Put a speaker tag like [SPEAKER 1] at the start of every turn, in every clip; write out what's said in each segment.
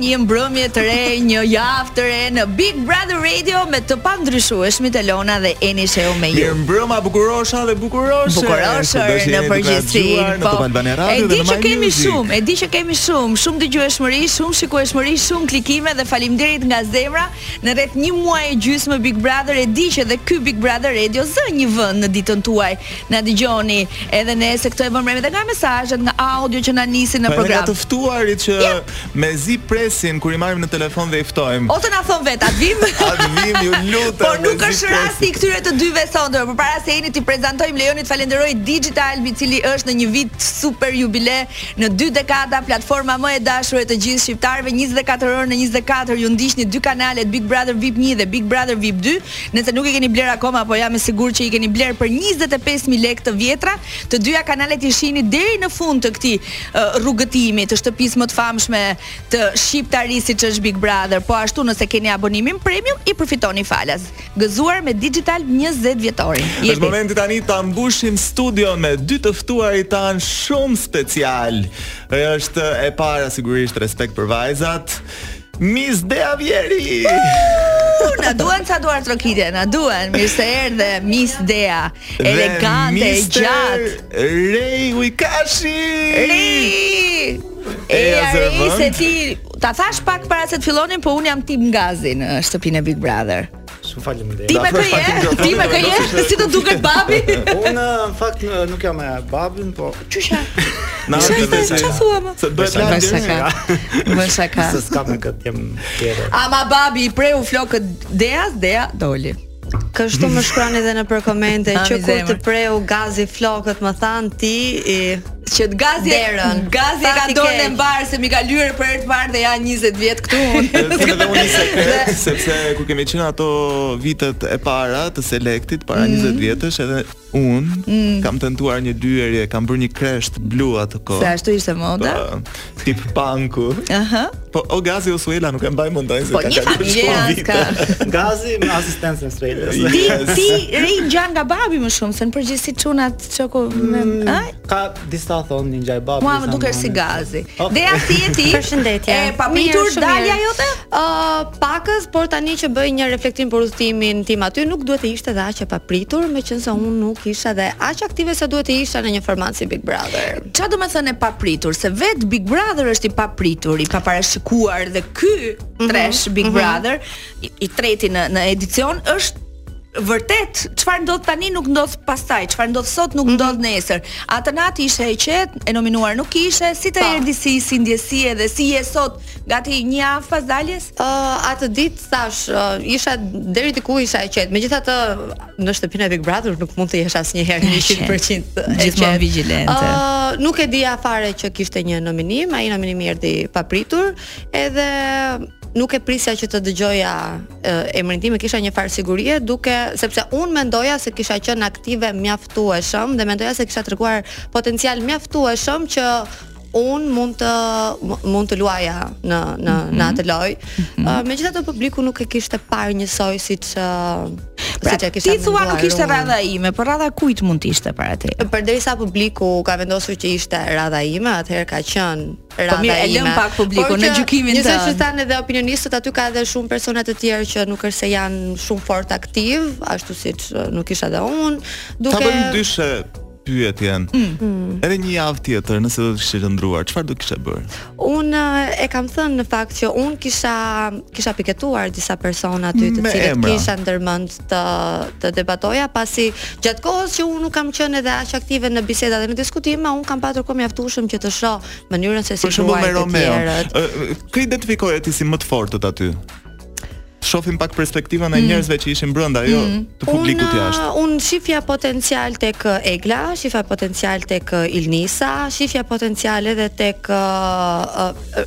[SPEAKER 1] një mbrëmje të re, një javë të re në Big Brother Radio me të pandryshueshmit Elona dhe Eni Sheu me ju.
[SPEAKER 2] Mirë mbrëma bukurosha dhe bukuroshe.
[SPEAKER 1] Bukuroshër
[SPEAKER 2] Kudo
[SPEAKER 1] Jo.
[SPEAKER 2] që
[SPEAKER 1] në
[SPEAKER 2] jeni të na
[SPEAKER 1] përgjithësi. po,
[SPEAKER 2] dëgjuar Në Top Albania
[SPEAKER 1] e
[SPEAKER 2] Radio
[SPEAKER 1] di
[SPEAKER 2] dhe në
[SPEAKER 1] që
[SPEAKER 2] My
[SPEAKER 1] kemi
[SPEAKER 2] Music.
[SPEAKER 1] shumë, e di që kemi shumë, shumë dëgjueshmëri, shumë shikueshmëri, shumë klikime dhe faleminderit nga zemra. Në rreth një muaj e gjysmë Big Brother e di që edhe ky Big Brother Radio zë një vend në ditën tuaj. Na dëgjoni edhe ne se këto e vëmë edhe nga mesazhet, nga audio që na nisin në
[SPEAKER 2] Po edhe nga
[SPEAKER 1] program.
[SPEAKER 2] të ftuarit që
[SPEAKER 1] Jep.
[SPEAKER 2] me zi presin kur i marrim në telefon dhe i ftojmë.
[SPEAKER 1] Ose na thon vet, atë vim.
[SPEAKER 2] Atë vim ju lutem.
[SPEAKER 1] Por Po, nuk
[SPEAKER 2] me
[SPEAKER 1] është
[SPEAKER 2] zi presin.
[SPEAKER 1] rasti i këtyre të dyve sonte, por para se jeni ti prezantojmë Leonit falenderoj Digital, i cili është në një vit super jubile, në dy dekada platforma më e dashur e të gjithë shqiptarëve, 24 orë në 24 ju ndiqni dy kanalet Big Brother VIP 1 dhe Big Brother VIP 2. Nëse nuk e keni bler akoma, po jam e sigurt që i keni bler për 25000 lekë të vjetra. Të dyja kanalet i shihni deri në fund të këtij uh, rrugëtimi të shtëpisë më të famshme të shqiptarisë siç është Big Brother. Po ashtu nëse keni abonimin premium i përfitoni falas. Gëzuar me Digital 20 vjetorin.
[SPEAKER 2] Është momenti tani ta mbushim studion me dy të ftuarit tan shumë special. Është e para sigurisht respekt për vajzat. Miss Dea Vieri.
[SPEAKER 1] U, na duan sa duar trokitje, na duan. Mirë se erdhe Miss Dea,
[SPEAKER 2] Dhe
[SPEAKER 1] elegante, e
[SPEAKER 2] Mr.
[SPEAKER 1] gjatë.
[SPEAKER 2] Rei Uikashi.
[SPEAKER 1] Ri!
[SPEAKER 2] E,
[SPEAKER 1] E
[SPEAKER 2] a
[SPEAKER 1] ja,
[SPEAKER 2] zë
[SPEAKER 1] ri
[SPEAKER 2] vend?
[SPEAKER 1] se ti ta thash pak para se të fillonin, po un jam tim Gazi në shtëpinë e Big Brother.
[SPEAKER 3] Shumë faleminderit.
[SPEAKER 1] Ti
[SPEAKER 2] Da,
[SPEAKER 1] me
[SPEAKER 2] afrosh pak
[SPEAKER 1] këje,
[SPEAKER 2] mikrofonin,
[SPEAKER 1] ti me
[SPEAKER 2] do
[SPEAKER 1] këje,
[SPEAKER 2] losësh-
[SPEAKER 1] si të duket babi?
[SPEAKER 3] Unë në fakt në- nuk jam me babin, po
[SPEAKER 1] Qysha.
[SPEAKER 2] Na
[SPEAKER 1] Isha
[SPEAKER 2] ardhi
[SPEAKER 1] ishte,
[SPEAKER 2] mesazhi.
[SPEAKER 1] çfarë thua, më?
[SPEAKER 2] Se bëhet
[SPEAKER 3] Bërsa-
[SPEAKER 2] lajm
[SPEAKER 1] Bën
[SPEAKER 3] Bërsa-
[SPEAKER 2] deri.
[SPEAKER 1] shaka. Bën shaka.
[SPEAKER 3] se s'kam me këtë jam tjetër.
[SPEAKER 1] Ama babi i preu flokët Deas, Dea doli.
[SPEAKER 4] Kështu më shkruan edhe në për komente
[SPEAKER 1] Ami
[SPEAKER 4] që kur
[SPEAKER 1] zemër.
[SPEAKER 4] të preu gazi flokët më than ti i
[SPEAKER 1] Që të gazi,
[SPEAKER 4] Derën.
[SPEAKER 1] gazi e ka
[SPEAKER 4] Fati
[SPEAKER 1] dorën e
[SPEAKER 4] keq.
[SPEAKER 1] mbarë se mi ka lyre për herë të parë dhe ja 20 vjet këtu. unë.
[SPEAKER 2] Edhe edhe unë i sekret, sepse kur kemi qenë ato vitet e para të selektit para
[SPEAKER 1] Mm.
[SPEAKER 2] 20 vjetësh, edhe unë kam tentuar një dyerje, kam bërë një kresht blu atë kohë.
[SPEAKER 1] Se ashtu ishte moda.
[SPEAKER 2] Po, tip punku.
[SPEAKER 1] Aha.
[SPEAKER 2] Po o Gazi Osuela nuk e mbaj mendoj se
[SPEAKER 1] Po
[SPEAKER 2] ka
[SPEAKER 1] një
[SPEAKER 2] kaluar
[SPEAKER 1] familje
[SPEAKER 2] shumë
[SPEAKER 1] as ka.
[SPEAKER 2] vite.
[SPEAKER 3] Gazi me asistencën e Srejtës.
[SPEAKER 1] Ti ti ri ngjan nga babi më shumë se në përgjithësi çunat çoku me
[SPEAKER 3] Mm.
[SPEAKER 1] ë?
[SPEAKER 3] Ka disa thonë një ngjaj babi.
[SPEAKER 1] Mua
[SPEAKER 3] disa
[SPEAKER 1] më dukesh
[SPEAKER 3] nane.
[SPEAKER 1] si gazi.
[SPEAKER 3] Ok.
[SPEAKER 1] Dea si je ti?
[SPEAKER 4] Përshëndetje.
[SPEAKER 1] E pa pritur
[SPEAKER 4] Mirë, shumë
[SPEAKER 1] dalja
[SPEAKER 4] mirë.
[SPEAKER 1] jote?
[SPEAKER 4] Ë pakës, por tani që bëj një reflektim për udhëtimin tim aty, nuk duhet të ishte dhe aq e papritur, meqense unë nuk isha dhe aq aktive sa duhet të isha në një format si Big Brother.
[SPEAKER 1] Qa do me thënë e papritur? Se vetë Big Brother është i papritur, i paparashikuar dhe ky
[SPEAKER 4] Mhm,
[SPEAKER 1] tresh Big Brother, i, i treti në, në edicion, është vërtet çfarë ndodh tani nuk ndodh pastaj, çfarë ndodh sot
[SPEAKER 4] Mhm.
[SPEAKER 1] nuk ndodh nesër. Atë natë ishe e qetë, e nominuar nuk ishe, si të
[SPEAKER 4] Po.
[SPEAKER 1] erdhi si si ndjesie dhe si je sot, gati një javë pas daljes?
[SPEAKER 4] Uh, atë ditë thash, uh, isha deri diku isha e qetë. Megjithatë në shtëpinë e Big Brother nuk mund të jesh asnjëherë 100% e
[SPEAKER 1] Gjithmonë
[SPEAKER 4] qetë.
[SPEAKER 1] vigjilente.
[SPEAKER 4] Ë, nuk e dija fare që kishte një nominim, ai nominimi erdhi papritur, edhe nuk e prisja që të dëgjoja uh, emrin tim, e kisha një farë sigurie duke sepse unë mendoja se kisha qenë aktive mjaftueshëm dhe mendoja se kisha treguar potencial mjaftueshëm që un mund të mu- mund të luaja në në
[SPEAKER 1] Mhm.
[SPEAKER 4] në atë lojë. Mm Megjithatë publiku nuk e kishte parë njësoj siç uh,
[SPEAKER 1] Pra,
[SPEAKER 4] siç e kisha
[SPEAKER 1] ti thua nuk
[SPEAKER 4] menduar
[SPEAKER 1] ishte
[SPEAKER 4] unë.
[SPEAKER 1] radha ime, por radha kujt mund të ishte para te?
[SPEAKER 4] Përderisa publiku ka vendosur që ishte radha ime, atëherë ka qenë radha
[SPEAKER 1] Po mirë, e lëm
[SPEAKER 4] ime.
[SPEAKER 1] pak publikun
[SPEAKER 4] Por
[SPEAKER 1] në
[SPEAKER 4] që
[SPEAKER 1] gjykimin
[SPEAKER 4] njësoj
[SPEAKER 1] tënd.
[SPEAKER 4] që thanë edhe opinionistët, aty ka edhe shumë persona të tjerë që nuk është se janë shumë fort aktiv, ashtu siç eh, nuk isha dhe unë,
[SPEAKER 2] Ta
[SPEAKER 4] duke
[SPEAKER 2] bëjmë dyshe pyetjen.
[SPEAKER 1] Mm.
[SPEAKER 2] Edhe një javë tjetër nëse do të kishte qëndruar, çfarë do kishe bërë?
[SPEAKER 4] unë eh, e kam thënë në fakt që unë kisha kisha piketuar disa persona aty të
[SPEAKER 2] Me
[SPEAKER 4] cilët
[SPEAKER 2] emra.
[SPEAKER 4] kisha ndërmend të të debatoja pasi gjatë kohës që unë nuk kam qenë edhe aq aktive në biseda dhe në diskutime, unë kam patur kohë mjaftueshëm që të shoh mënyrën se si
[SPEAKER 2] Për shembull me
[SPEAKER 4] luajnë të
[SPEAKER 2] Romeo.
[SPEAKER 4] tjerët.
[SPEAKER 2] ë, Kë identifikoje ti si më të fortët aty? Shofim pak perspektivën e njerëzve që ishin brenda, jo të publikut
[SPEAKER 4] Mm. Unë,
[SPEAKER 2] jashtë.
[SPEAKER 4] Unë shifja potencial tek eh, Egla, shifja potencial tek eh, Ilnisa, shifja potencial edhe tek uh, uh,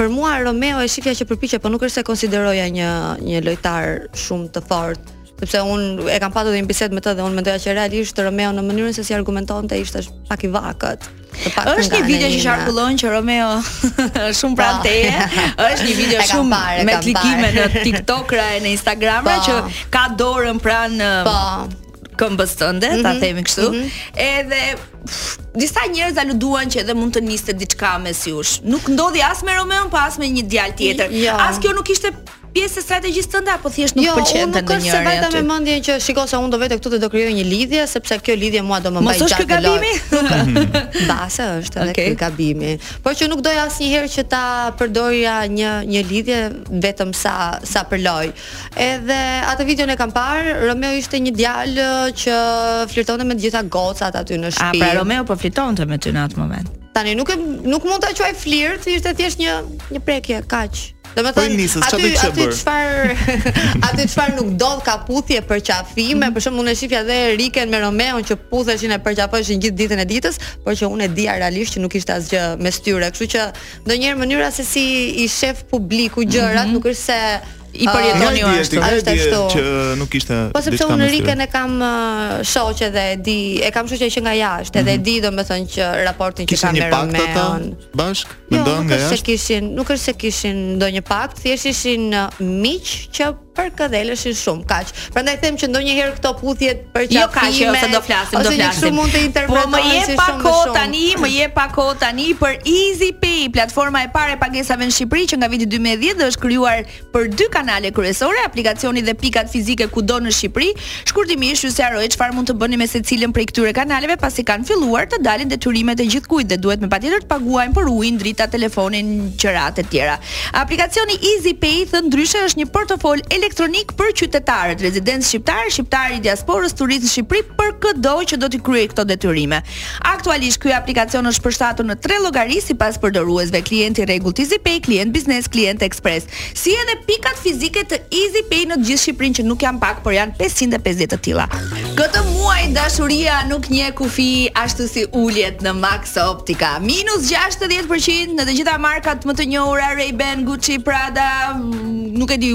[SPEAKER 4] për mua Romeo e shifja që përpiqe, po nuk është se konsideroja një një lojtar shumë të fortë sepse unë e kam patur dhe një bisedë me të dhe unë mendoja që realisht Romeo në mënyrën se si argumentonte ishte sh- pak i vakët. të paktën
[SPEAKER 1] Është një
[SPEAKER 4] nga
[SPEAKER 1] video
[SPEAKER 4] ana
[SPEAKER 1] që
[SPEAKER 4] ime.
[SPEAKER 1] qarkullon që Romeo është shumë pranë
[SPEAKER 4] Po.
[SPEAKER 1] teje. Është një video
[SPEAKER 4] E kam
[SPEAKER 1] shumë
[SPEAKER 4] parë, e
[SPEAKER 1] me
[SPEAKER 4] kam
[SPEAKER 1] klikime
[SPEAKER 4] parë.
[SPEAKER 1] në TikTok-ra e në Instagram-ra
[SPEAKER 4] Po.
[SPEAKER 1] që ka dorën pranë
[SPEAKER 4] Po, Mhm,
[SPEAKER 1] këmbës tënde, ta themi kështu. Edhe pff, disa njerëz aluduan që edhe mund të niste diçka mes jush. Nuk ndodhi as me Romeon, pa as me një djalë tjetër.
[SPEAKER 4] Jo.
[SPEAKER 1] As kjo nuk ishte pjesë e strategjisë tënde apo thjesht nuk pëlqente
[SPEAKER 4] unë nuk është se
[SPEAKER 1] ndonjëri
[SPEAKER 4] vajta
[SPEAKER 1] aty.
[SPEAKER 4] me mendjen që shiko se unë do vete këtu të do krijoj një lidhje sepse kjo lidhje mua do më
[SPEAKER 1] Mos
[SPEAKER 4] mbaj
[SPEAKER 1] është
[SPEAKER 4] gjatë.
[SPEAKER 1] ky gabimi?
[SPEAKER 4] Base është edhe
[SPEAKER 1] Okej.
[SPEAKER 4] ky gabimi. Por që nuk doja asnjëherë që ta përdorja një një lidhje vetëm sa sa për lojë. Edhe atë videon e kam parë, Romeo ishte një djalë që flirtonte me të gjitha gocat aty në
[SPEAKER 1] A
[SPEAKER 4] shtëpi.
[SPEAKER 1] pra Romeo po flitonte me ty në atë moment.
[SPEAKER 4] Tani nuk e nuk mund ta quaj flirt, ishte thjesht një një prekje, kaq.
[SPEAKER 2] Po, i
[SPEAKER 4] Domethënë
[SPEAKER 2] nisës, çfarë
[SPEAKER 4] aty
[SPEAKER 2] do të kishe
[SPEAKER 4] aty
[SPEAKER 2] bërë?
[SPEAKER 4] çfarë aty çfarë nuk dodh ka puthje për qafime, për shembull unë e shifja dhe Riken me Romeon që putheshin e përqafoshin gjithë ditën e ditës, por që unë e dija realisht që nuk ishte asgjë mes tyre, kështu që ndonjëherë mënyra se si i shef publiku gjërat nuk është se
[SPEAKER 1] I përjeton
[SPEAKER 4] ë,
[SPEAKER 1] jo ashtu.
[SPEAKER 2] Mhm. Nga i
[SPEAKER 4] uh, Është
[SPEAKER 2] dje
[SPEAKER 4] ashtu.
[SPEAKER 2] që nuk ishte
[SPEAKER 4] Po sepse
[SPEAKER 2] diçka
[SPEAKER 4] unë
[SPEAKER 2] mes tyre.
[SPEAKER 4] Riken e kam uh, shoqe dhe e di, e kam shoqe që nga jashtë, edhe e di domethënë që raportin që
[SPEAKER 2] Mhm. Kishin
[SPEAKER 4] kam me
[SPEAKER 2] një pakt ata
[SPEAKER 4] Romeon.
[SPEAKER 2] bashk?
[SPEAKER 4] Jo,
[SPEAKER 2] Mendon
[SPEAKER 4] nuk
[SPEAKER 2] nga
[SPEAKER 4] është se
[SPEAKER 2] jashtë?
[SPEAKER 4] kishin, nuk është se kishin ndonjë pakt, thjesht ishin uh, miq që përkëdheleshin shumë, kaq. Prandaj them që ndonjëherë këto puthjet për
[SPEAKER 1] Jo
[SPEAKER 4] qafime,
[SPEAKER 1] ka që se do flasim, do
[SPEAKER 4] ose një
[SPEAKER 1] flasim.
[SPEAKER 4] Shumë mund
[SPEAKER 1] po
[SPEAKER 4] të
[SPEAKER 1] më
[SPEAKER 4] interpretohen
[SPEAKER 1] jep
[SPEAKER 4] si
[SPEAKER 1] pa
[SPEAKER 4] shumë më
[SPEAKER 1] kohë
[SPEAKER 4] shumë.
[SPEAKER 1] tani, më jep pa kohë tani për Easy Pay, platforma e parë e pagesave në Shqipëri që nga viti 2010 dhe është krijuar për dy kanale kryesore, aplikacioni dhe pikat fizike kudo në Shqipëri. Shkurtimisht ju sqaroj çfarë mund të bëni me secilin prej këtyre kanaleve pasi kanë filluar të dalin detyrimet e gjithkujt dhe duhet me patjetër të paguajnë për ujin, drita, telefonin, qërat e tjera. Aplikacioni Easy Pay thënë ndryshe është një portofol elektronik për qytetarët, rezidencë shqiptarë, shqiptarë i diasporës, turistë në Shqipëri për çdo që do t'i kryejë këto detyrime. Aktualisht ky aplikacion është përshtatur në tre llogari sipas përdoruesve: klienti rregull Easy Pay, klient biznes, klient ekspres, si edhe pikat fizike të Easy Pay në të gjithë Shqipërinë që nuk janë pak, por janë 550 të tilla. Këtë muaj dashuria nuk një kufi ashtu si uljet në Max Optica. Minus 60% në të gjitha markat më të njohura Ray-Ban, Gucci, Prada, mm, nuk e di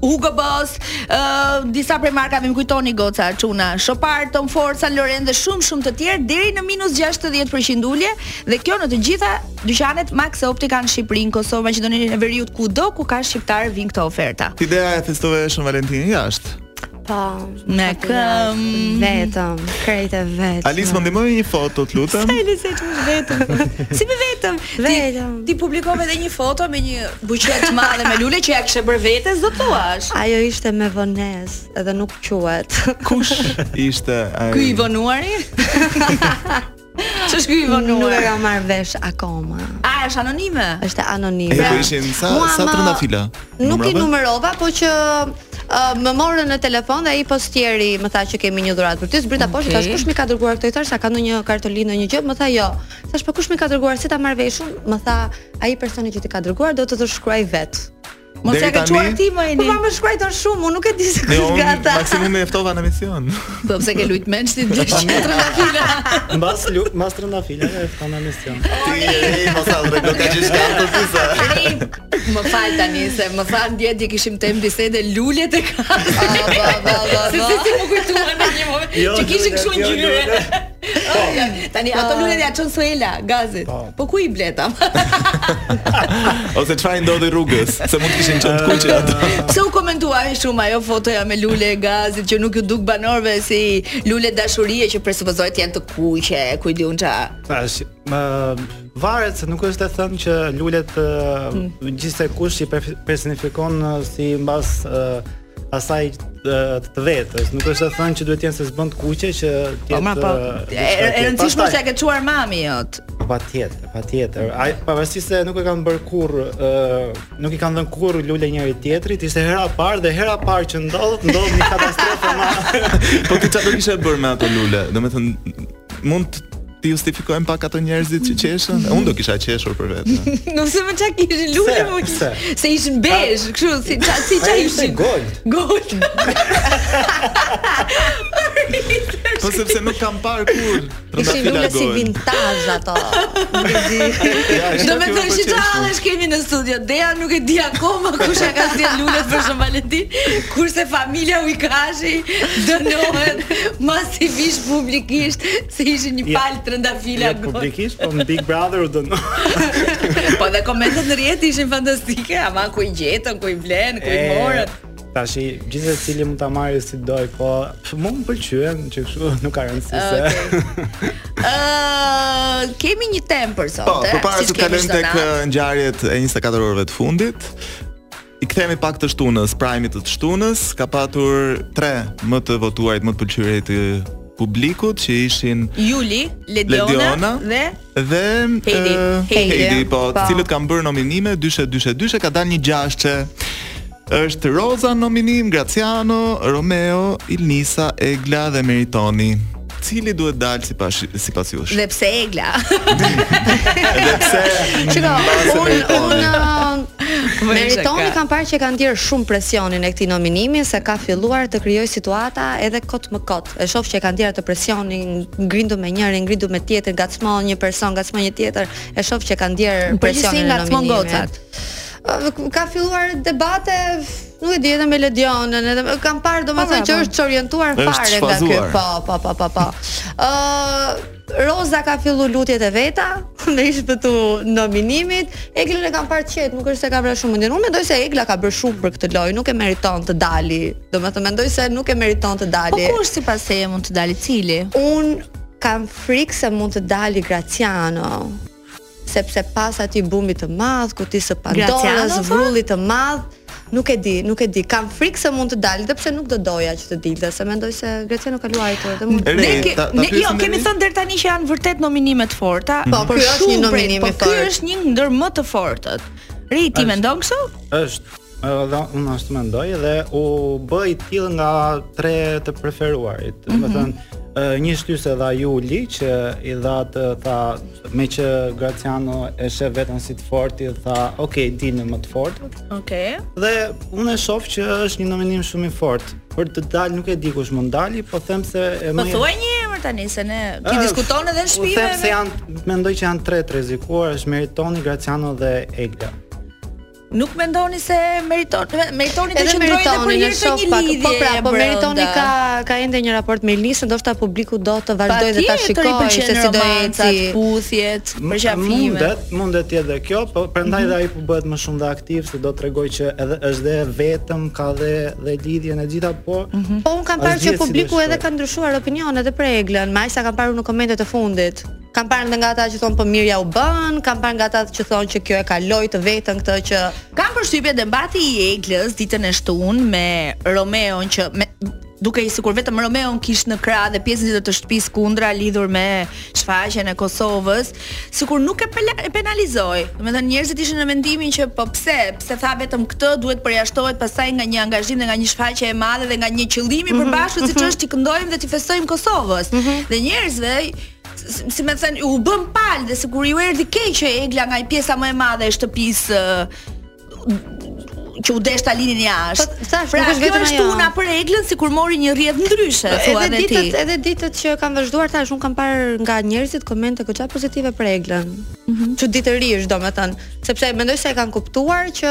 [SPEAKER 1] Hugo Boss, ë disa prej markave më kujtoni goca çuna, Chopard, Tom Ford, Saint Laurent dhe shumë shumë të tjerë deri në minus 60% ulje dhe kjo në të gjitha dyqanet Max Optica në Shqipëri, në Kosovë, Maqedoninë e Veriut, kudo ku ka shqiptar vin këto oferta.
[SPEAKER 2] Ideja e festove Shën Valentinin jashtë.
[SPEAKER 4] Po,
[SPEAKER 1] Me
[SPEAKER 4] aty
[SPEAKER 1] këm.
[SPEAKER 4] jashtë, vetëm, krejt e vetëm.
[SPEAKER 2] Alis më po ndihmoj një foto, të lutem.
[SPEAKER 1] Elise që është vetëm. Si me vetëm?
[SPEAKER 4] Vetëm.
[SPEAKER 1] Ti, ti publikove edhe një foto me një buqet të madhe me lule që ja kishe bërë vetes, do thuash.
[SPEAKER 4] Ajo ishte me vonesë, edhe nuk quhet.
[SPEAKER 2] Kush ishte ai?
[SPEAKER 1] Ky i vonuari? Ç'është ky i
[SPEAKER 4] nuk e
[SPEAKER 1] vonuar?
[SPEAKER 4] kam marr vesh akoma.
[SPEAKER 1] A, është anonime?
[SPEAKER 4] Është anonime.
[SPEAKER 2] E po ishin sa
[SPEAKER 4] Mua
[SPEAKER 2] sa
[SPEAKER 4] më-
[SPEAKER 2] trëndafila.
[SPEAKER 4] Nuk i
[SPEAKER 2] Numrove?
[SPEAKER 4] numërova, po që uh, më morën në telefon dhe ai postieri më tha që kemi një dhuratë për ty. Zbrita poshtë
[SPEAKER 1] Okej.
[SPEAKER 4] thash kush më ka dërguar këtë i thash sa ka ndonjë kartolinë ndonjë gjë, më tha jo. Thash po kush më ka dërguar si ta marr veshun? Më tha ai personi që ti ka dërguar do të të shkruaj vet.
[SPEAKER 1] Mos
[SPEAKER 2] Deri
[SPEAKER 1] ja ke
[SPEAKER 2] tani-
[SPEAKER 1] çuar ti më
[SPEAKER 4] Po
[SPEAKER 1] eni.
[SPEAKER 4] pa më shkruajton shumë, unë nuk e di se
[SPEAKER 2] Ne
[SPEAKER 4] kush
[SPEAKER 2] unë
[SPEAKER 4] ka ta.
[SPEAKER 2] maksimum e ftova në mision.
[SPEAKER 1] Po pse ke lut mençti dy çetra nga fila.
[SPEAKER 3] Mbas lu, mbas trëndafila e fton në mision.
[SPEAKER 2] Ti e mos sa rregull ka gjithë kartën si sa.
[SPEAKER 1] Ri, Më fal tani se më than dje di kishim tem bisede lulet e ka. Se si ti më kujtuan në një moment
[SPEAKER 3] Jo,
[SPEAKER 1] që kishin
[SPEAKER 3] lulet,
[SPEAKER 1] kështu
[SPEAKER 3] jo,
[SPEAKER 1] ngjyrë.
[SPEAKER 3] lulet.
[SPEAKER 1] Tani ato lulet ja çon Suela gazit. Po ku i bleta?
[SPEAKER 2] Ose çfarë i ndodhi rrugës, se mund të kishin qenë të kuqe ato.
[SPEAKER 3] Ah.
[SPEAKER 1] Pse u komentuaj shumë ajo fotoja me lule e gazit që nuk ju duk banorëve si lule dashurie që presupozohet janë të kuqe, ku i diun ça.
[SPEAKER 3] Tash, më varet se nuk është e thënë që lulet mm.
[SPEAKER 1] Hmm.
[SPEAKER 3] gjithse kush i perf- personifikon ë, si mbas ë, asaj ë, të vetës. Nuk është e thënë që duhet jenë se s'bën të kuqe që
[SPEAKER 1] Po ma po. E
[SPEAKER 2] eh,
[SPEAKER 3] ë, diçka
[SPEAKER 1] e
[SPEAKER 3] tjetër.
[SPEAKER 1] rëndësishme
[SPEAKER 3] Pastaj-
[SPEAKER 1] është ja ke çuar mami jot.
[SPEAKER 3] Po Patjetër, patjetër. Ai pavarësisht se nuk e kanë bërë kurr, ë nuk i kanë dhënë kurr lule njëri tjetrit, ishte hera e parë dhe hera e parë që ndodh, ndodh një katastrofë ma.
[SPEAKER 2] Po ti çfarë do kishe bërë me ato lule? Domethënë mund të justifikojmë pak ato njerëzit që qeshën?
[SPEAKER 1] Mm.
[SPEAKER 2] Unë do kisha qeshur për vetë.
[SPEAKER 1] Nuk se më çka kishin lule
[SPEAKER 3] Se,
[SPEAKER 1] më
[SPEAKER 3] se.
[SPEAKER 1] se ishin bezh, kështu si ça si ça
[SPEAKER 3] Ai ishte
[SPEAKER 1] ishin.
[SPEAKER 3] gold.
[SPEAKER 1] Gold.
[SPEAKER 2] Po sepse nuk kam parë kur
[SPEAKER 4] Ishin
[SPEAKER 2] trëndafila
[SPEAKER 4] lule si
[SPEAKER 2] gojën.
[SPEAKER 4] vintage ato. Nuk e di.
[SPEAKER 2] Ja, isha
[SPEAKER 1] Do me thënë
[SPEAKER 2] kjo po
[SPEAKER 1] që qa
[SPEAKER 2] qeshur.
[SPEAKER 1] allesh kemi në studio Dea nuk e di akoma kush e ka zgjedhë lullet për Shën Valentin Kurse familja u i kashi Dënohet masivisht publikisht Se ishin një
[SPEAKER 3] Ja.
[SPEAKER 1] palë të rëndafila
[SPEAKER 3] Jo,
[SPEAKER 1] gotë
[SPEAKER 3] Publikisht, po në Big Brother u dënon.
[SPEAKER 2] Eh.
[SPEAKER 1] Po dhe komentet në rjetë ishin fantastike Ama ku i gjetën, ku i blenë, ku i
[SPEAKER 3] E,
[SPEAKER 1] morën
[SPEAKER 3] Tash i gjithë cili mund ta marrë si doj, po pff, mua më pëlqyen që kështu nuk ka rëndësi
[SPEAKER 1] Ah,
[SPEAKER 3] se.
[SPEAKER 1] Ë, kemi një temë për sot,
[SPEAKER 2] Po,
[SPEAKER 1] e,
[SPEAKER 2] përpara
[SPEAKER 1] siç
[SPEAKER 2] se të
[SPEAKER 1] kemi
[SPEAKER 2] kalojmë
[SPEAKER 1] çdo
[SPEAKER 2] tek
[SPEAKER 1] natë.
[SPEAKER 2] eh, ngjarjet e 24 orëve të fundit, i kthehemi pak të shtunës, prajmit të shtunës, ka patur 3 më të votuarit, më të pëlqyrit të publikut që ishin
[SPEAKER 1] Juli, Lediona,
[SPEAKER 2] Lediona.
[SPEAKER 1] dhe
[SPEAKER 2] dhe
[SPEAKER 1] Heidi.
[SPEAKER 2] eh,
[SPEAKER 1] Heidi,
[SPEAKER 2] Heidi po, të
[SPEAKER 4] po.
[SPEAKER 2] cilët kanë bërë nominime dyshe dyshe dyshe ka dalë një gjashçe. Është Roza në nominim, Graciano, Romeo, Ilnisa, Egla dhe Meritoni. Cili duhet dalë sipas sipas jush?
[SPEAKER 1] dhe pse Egla.
[SPEAKER 2] Edhe pse
[SPEAKER 4] Çka,
[SPEAKER 2] mbase
[SPEAKER 4] un
[SPEAKER 2] Meritoni.
[SPEAKER 4] un
[SPEAKER 1] Më
[SPEAKER 4] Meritoni
[SPEAKER 1] shaka.
[SPEAKER 4] kam parë që kanë ndjerë shumë presionin e këtij nominimi se ka filluar të krijoj situata edhe kot më kot. E shoh që e kanë ndjerë të presionin, ngrindu me njërin, ngrindu me tjetrin, gacmon një person, gacmon një tjetër. E shoh që kanë ndjerë
[SPEAKER 1] Në përgjithësi
[SPEAKER 4] presionin e
[SPEAKER 1] ngacmon
[SPEAKER 4] nominimit.
[SPEAKER 1] gocat.
[SPEAKER 4] Ë, Ka filluar debate nuk e di edhe me Ledionën, edhe kam parë domethënë
[SPEAKER 1] Po,
[SPEAKER 4] që
[SPEAKER 1] bravo.
[SPEAKER 4] është çorientuar
[SPEAKER 2] Është
[SPEAKER 4] fare nga ky.
[SPEAKER 2] shfazuar.
[SPEAKER 4] Po, po, po, po, po. Ë Roza ka fillu lutjet e veta me ishtë të nominimit. Eglën e kam parë qetë, nuk është se ka vrarë shumë mendin. Unë mendoj se Egla ka bërë shumë për këtë lojë, nuk e meriton të dali. Domethënë mendoj se nuk e meriton të
[SPEAKER 1] Po
[SPEAKER 4] dali.
[SPEAKER 1] kush sipas teje mund të dalë cili?
[SPEAKER 4] Un kam frikë se mund të dali Graciano sepse pas atij bumit të madh, kutisë së Pandorës,
[SPEAKER 1] Graciano, po? tha?
[SPEAKER 4] vrullit të madh, nuk e di, nuk e di. Kam frikë se mund të dalë, edhe pse nuk do doja që të dilte, se mendoj se Graciano ka luajtur edhe mund.
[SPEAKER 2] Re,
[SPEAKER 1] Ne, ke,
[SPEAKER 2] ta- ta
[SPEAKER 1] ne, jo,
[SPEAKER 2] pyesim
[SPEAKER 1] kemi
[SPEAKER 2] Eri?
[SPEAKER 1] thënë deri tani që janë vërtet nominime të forta.
[SPEAKER 4] Po,
[SPEAKER 1] për
[SPEAKER 4] ky është
[SPEAKER 1] shumë
[SPEAKER 4] një
[SPEAKER 1] prej-
[SPEAKER 4] nominim i
[SPEAKER 1] Po,
[SPEAKER 4] fortë.
[SPEAKER 1] ky është një ndër më të fortët. Ri, ti
[SPEAKER 3] Është.
[SPEAKER 1] mendon kështu?
[SPEAKER 3] Është ë, dhe unë ashtu mendoj dhe u bë i tillë nga tre të preferuarit. Do
[SPEAKER 1] Mhm.
[SPEAKER 3] të thënë ë, një shtyse dha Juli që i dha të tha me që Graciano e sheh veten si të fortë, i tha, "Ok, dilni më të fortë."
[SPEAKER 1] Okej.
[SPEAKER 3] Dhe unë e shoh që është një nominim shumë i fortë. Për të dalë nuk e di kush mund dali, po them se e
[SPEAKER 1] Po
[SPEAKER 3] më
[SPEAKER 1] thuaj një emër tani se ne ti
[SPEAKER 3] Ë,
[SPEAKER 1] diskuton edhe në shtëpi.
[SPEAKER 3] U them
[SPEAKER 1] me-
[SPEAKER 3] se janë mendoj që janë tre të rrezikuar, është Meritoni, Graciano dhe Egla.
[SPEAKER 1] Nuk mendoni se meriton meritoni të
[SPEAKER 4] Edhe
[SPEAKER 1] qëndrojë dhe për
[SPEAKER 4] Meritoni e
[SPEAKER 1] hir të
[SPEAKER 4] shoh
[SPEAKER 1] një
[SPEAKER 4] pak,
[SPEAKER 1] lidhje.
[SPEAKER 4] po pra, po
[SPEAKER 1] brenda.
[SPEAKER 4] Meritoni ka ka ende një raport me Ilnisën, ndoshta publiku do të vazhdojë dhe ta
[SPEAKER 1] Patjetër i
[SPEAKER 4] shikojë
[SPEAKER 1] pëlqen
[SPEAKER 4] se si do
[SPEAKER 1] romancat,
[SPEAKER 4] eci.
[SPEAKER 1] puthjet, përqafime.
[SPEAKER 3] Mundet, mundet tjetë dhe kjo, po prandaj dhe ai po bëhet më shumë dhe aktiv, se do t'rregoj që edhe është dhe vetëm ka dhe dhe lidhjen e gjitha, po
[SPEAKER 4] Po un kam
[SPEAKER 3] As
[SPEAKER 4] parë
[SPEAKER 3] dihet
[SPEAKER 4] që
[SPEAKER 3] si do
[SPEAKER 4] publiku
[SPEAKER 3] shkoj.
[SPEAKER 4] edhe ka ndryshuar opinionet e për Eglën, më aq sa kam parë unë në komentet e fundit. Kam parë edhe nga ata që thonë po mirë ja u bën, kam parë nga ata që thonë që kjo e kaloi të vetën këtë që
[SPEAKER 1] Kam përshtypje debati i Eglës ditën e shtunë me Romeon që me duke i sikur vetëm Romeon kishte në krah dhe pjesën tjetër të shtëpisë kundra lidhur me shfaqjen e Kosovës, sikur nuk e pela- e penalizoi. Domethënë njerëzit ishin në mendimin që po pse, pse tha vetëm këtë, duhet përjashtohet pastaj nga një angazhim dhe nga një shfaqje e madhe dhe nga një qëllim i përbashkët siç është t'i këndojmë dhe t'i festojmë Kosovës. Dhe njerëzve s- si më thënë, u bën pal dhe sikur ju erdhi keq që Egla nga pjesa më e madhe e shtëpisë ë, që u desh ta linin jashtë.
[SPEAKER 4] Po, thash,
[SPEAKER 1] pra,
[SPEAKER 4] nuk është vetëm
[SPEAKER 1] kjo është
[SPEAKER 4] ajo.
[SPEAKER 1] puna për Eglën sikur mori një rrjedh ndryshe, thua
[SPEAKER 4] edhe
[SPEAKER 1] edhe ti.
[SPEAKER 4] ditët edhe ditët që kam vazhduar tash un kam parë nga njerëzit komente goxha pozitive për Eglën.
[SPEAKER 1] Mhm.
[SPEAKER 4] Çuditërisht domethënë, sepse mendoj se e kanë kuptuar që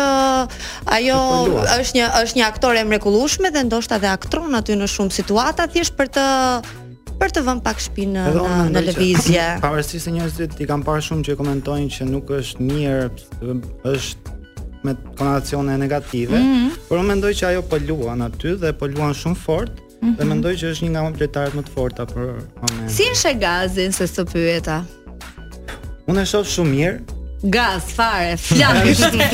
[SPEAKER 4] ajo është një është një aktore e mrekullueshme dhe ndoshta dhe aktron aty në shumë situata thjesht për të për të vënë pak shpinë
[SPEAKER 3] Edhe
[SPEAKER 4] në,
[SPEAKER 3] unë mendoj
[SPEAKER 4] në
[SPEAKER 3] që-
[SPEAKER 4] lëvizje.
[SPEAKER 3] Pavarësisht se njerëzit i kam parë shumë që komentojnë që nuk është mirë, është me konotacione negative, por unë mendoj që ajo po luan aty dhe po luan shumë fort dhe mendoj që është një nga lojtarët më të forta për momentin.
[SPEAKER 1] Si është e gazin se së pyeta?
[SPEAKER 3] Unë e shoh shumë mirë.
[SPEAKER 1] Gaz fare, flash.
[SPEAKER 3] Flak.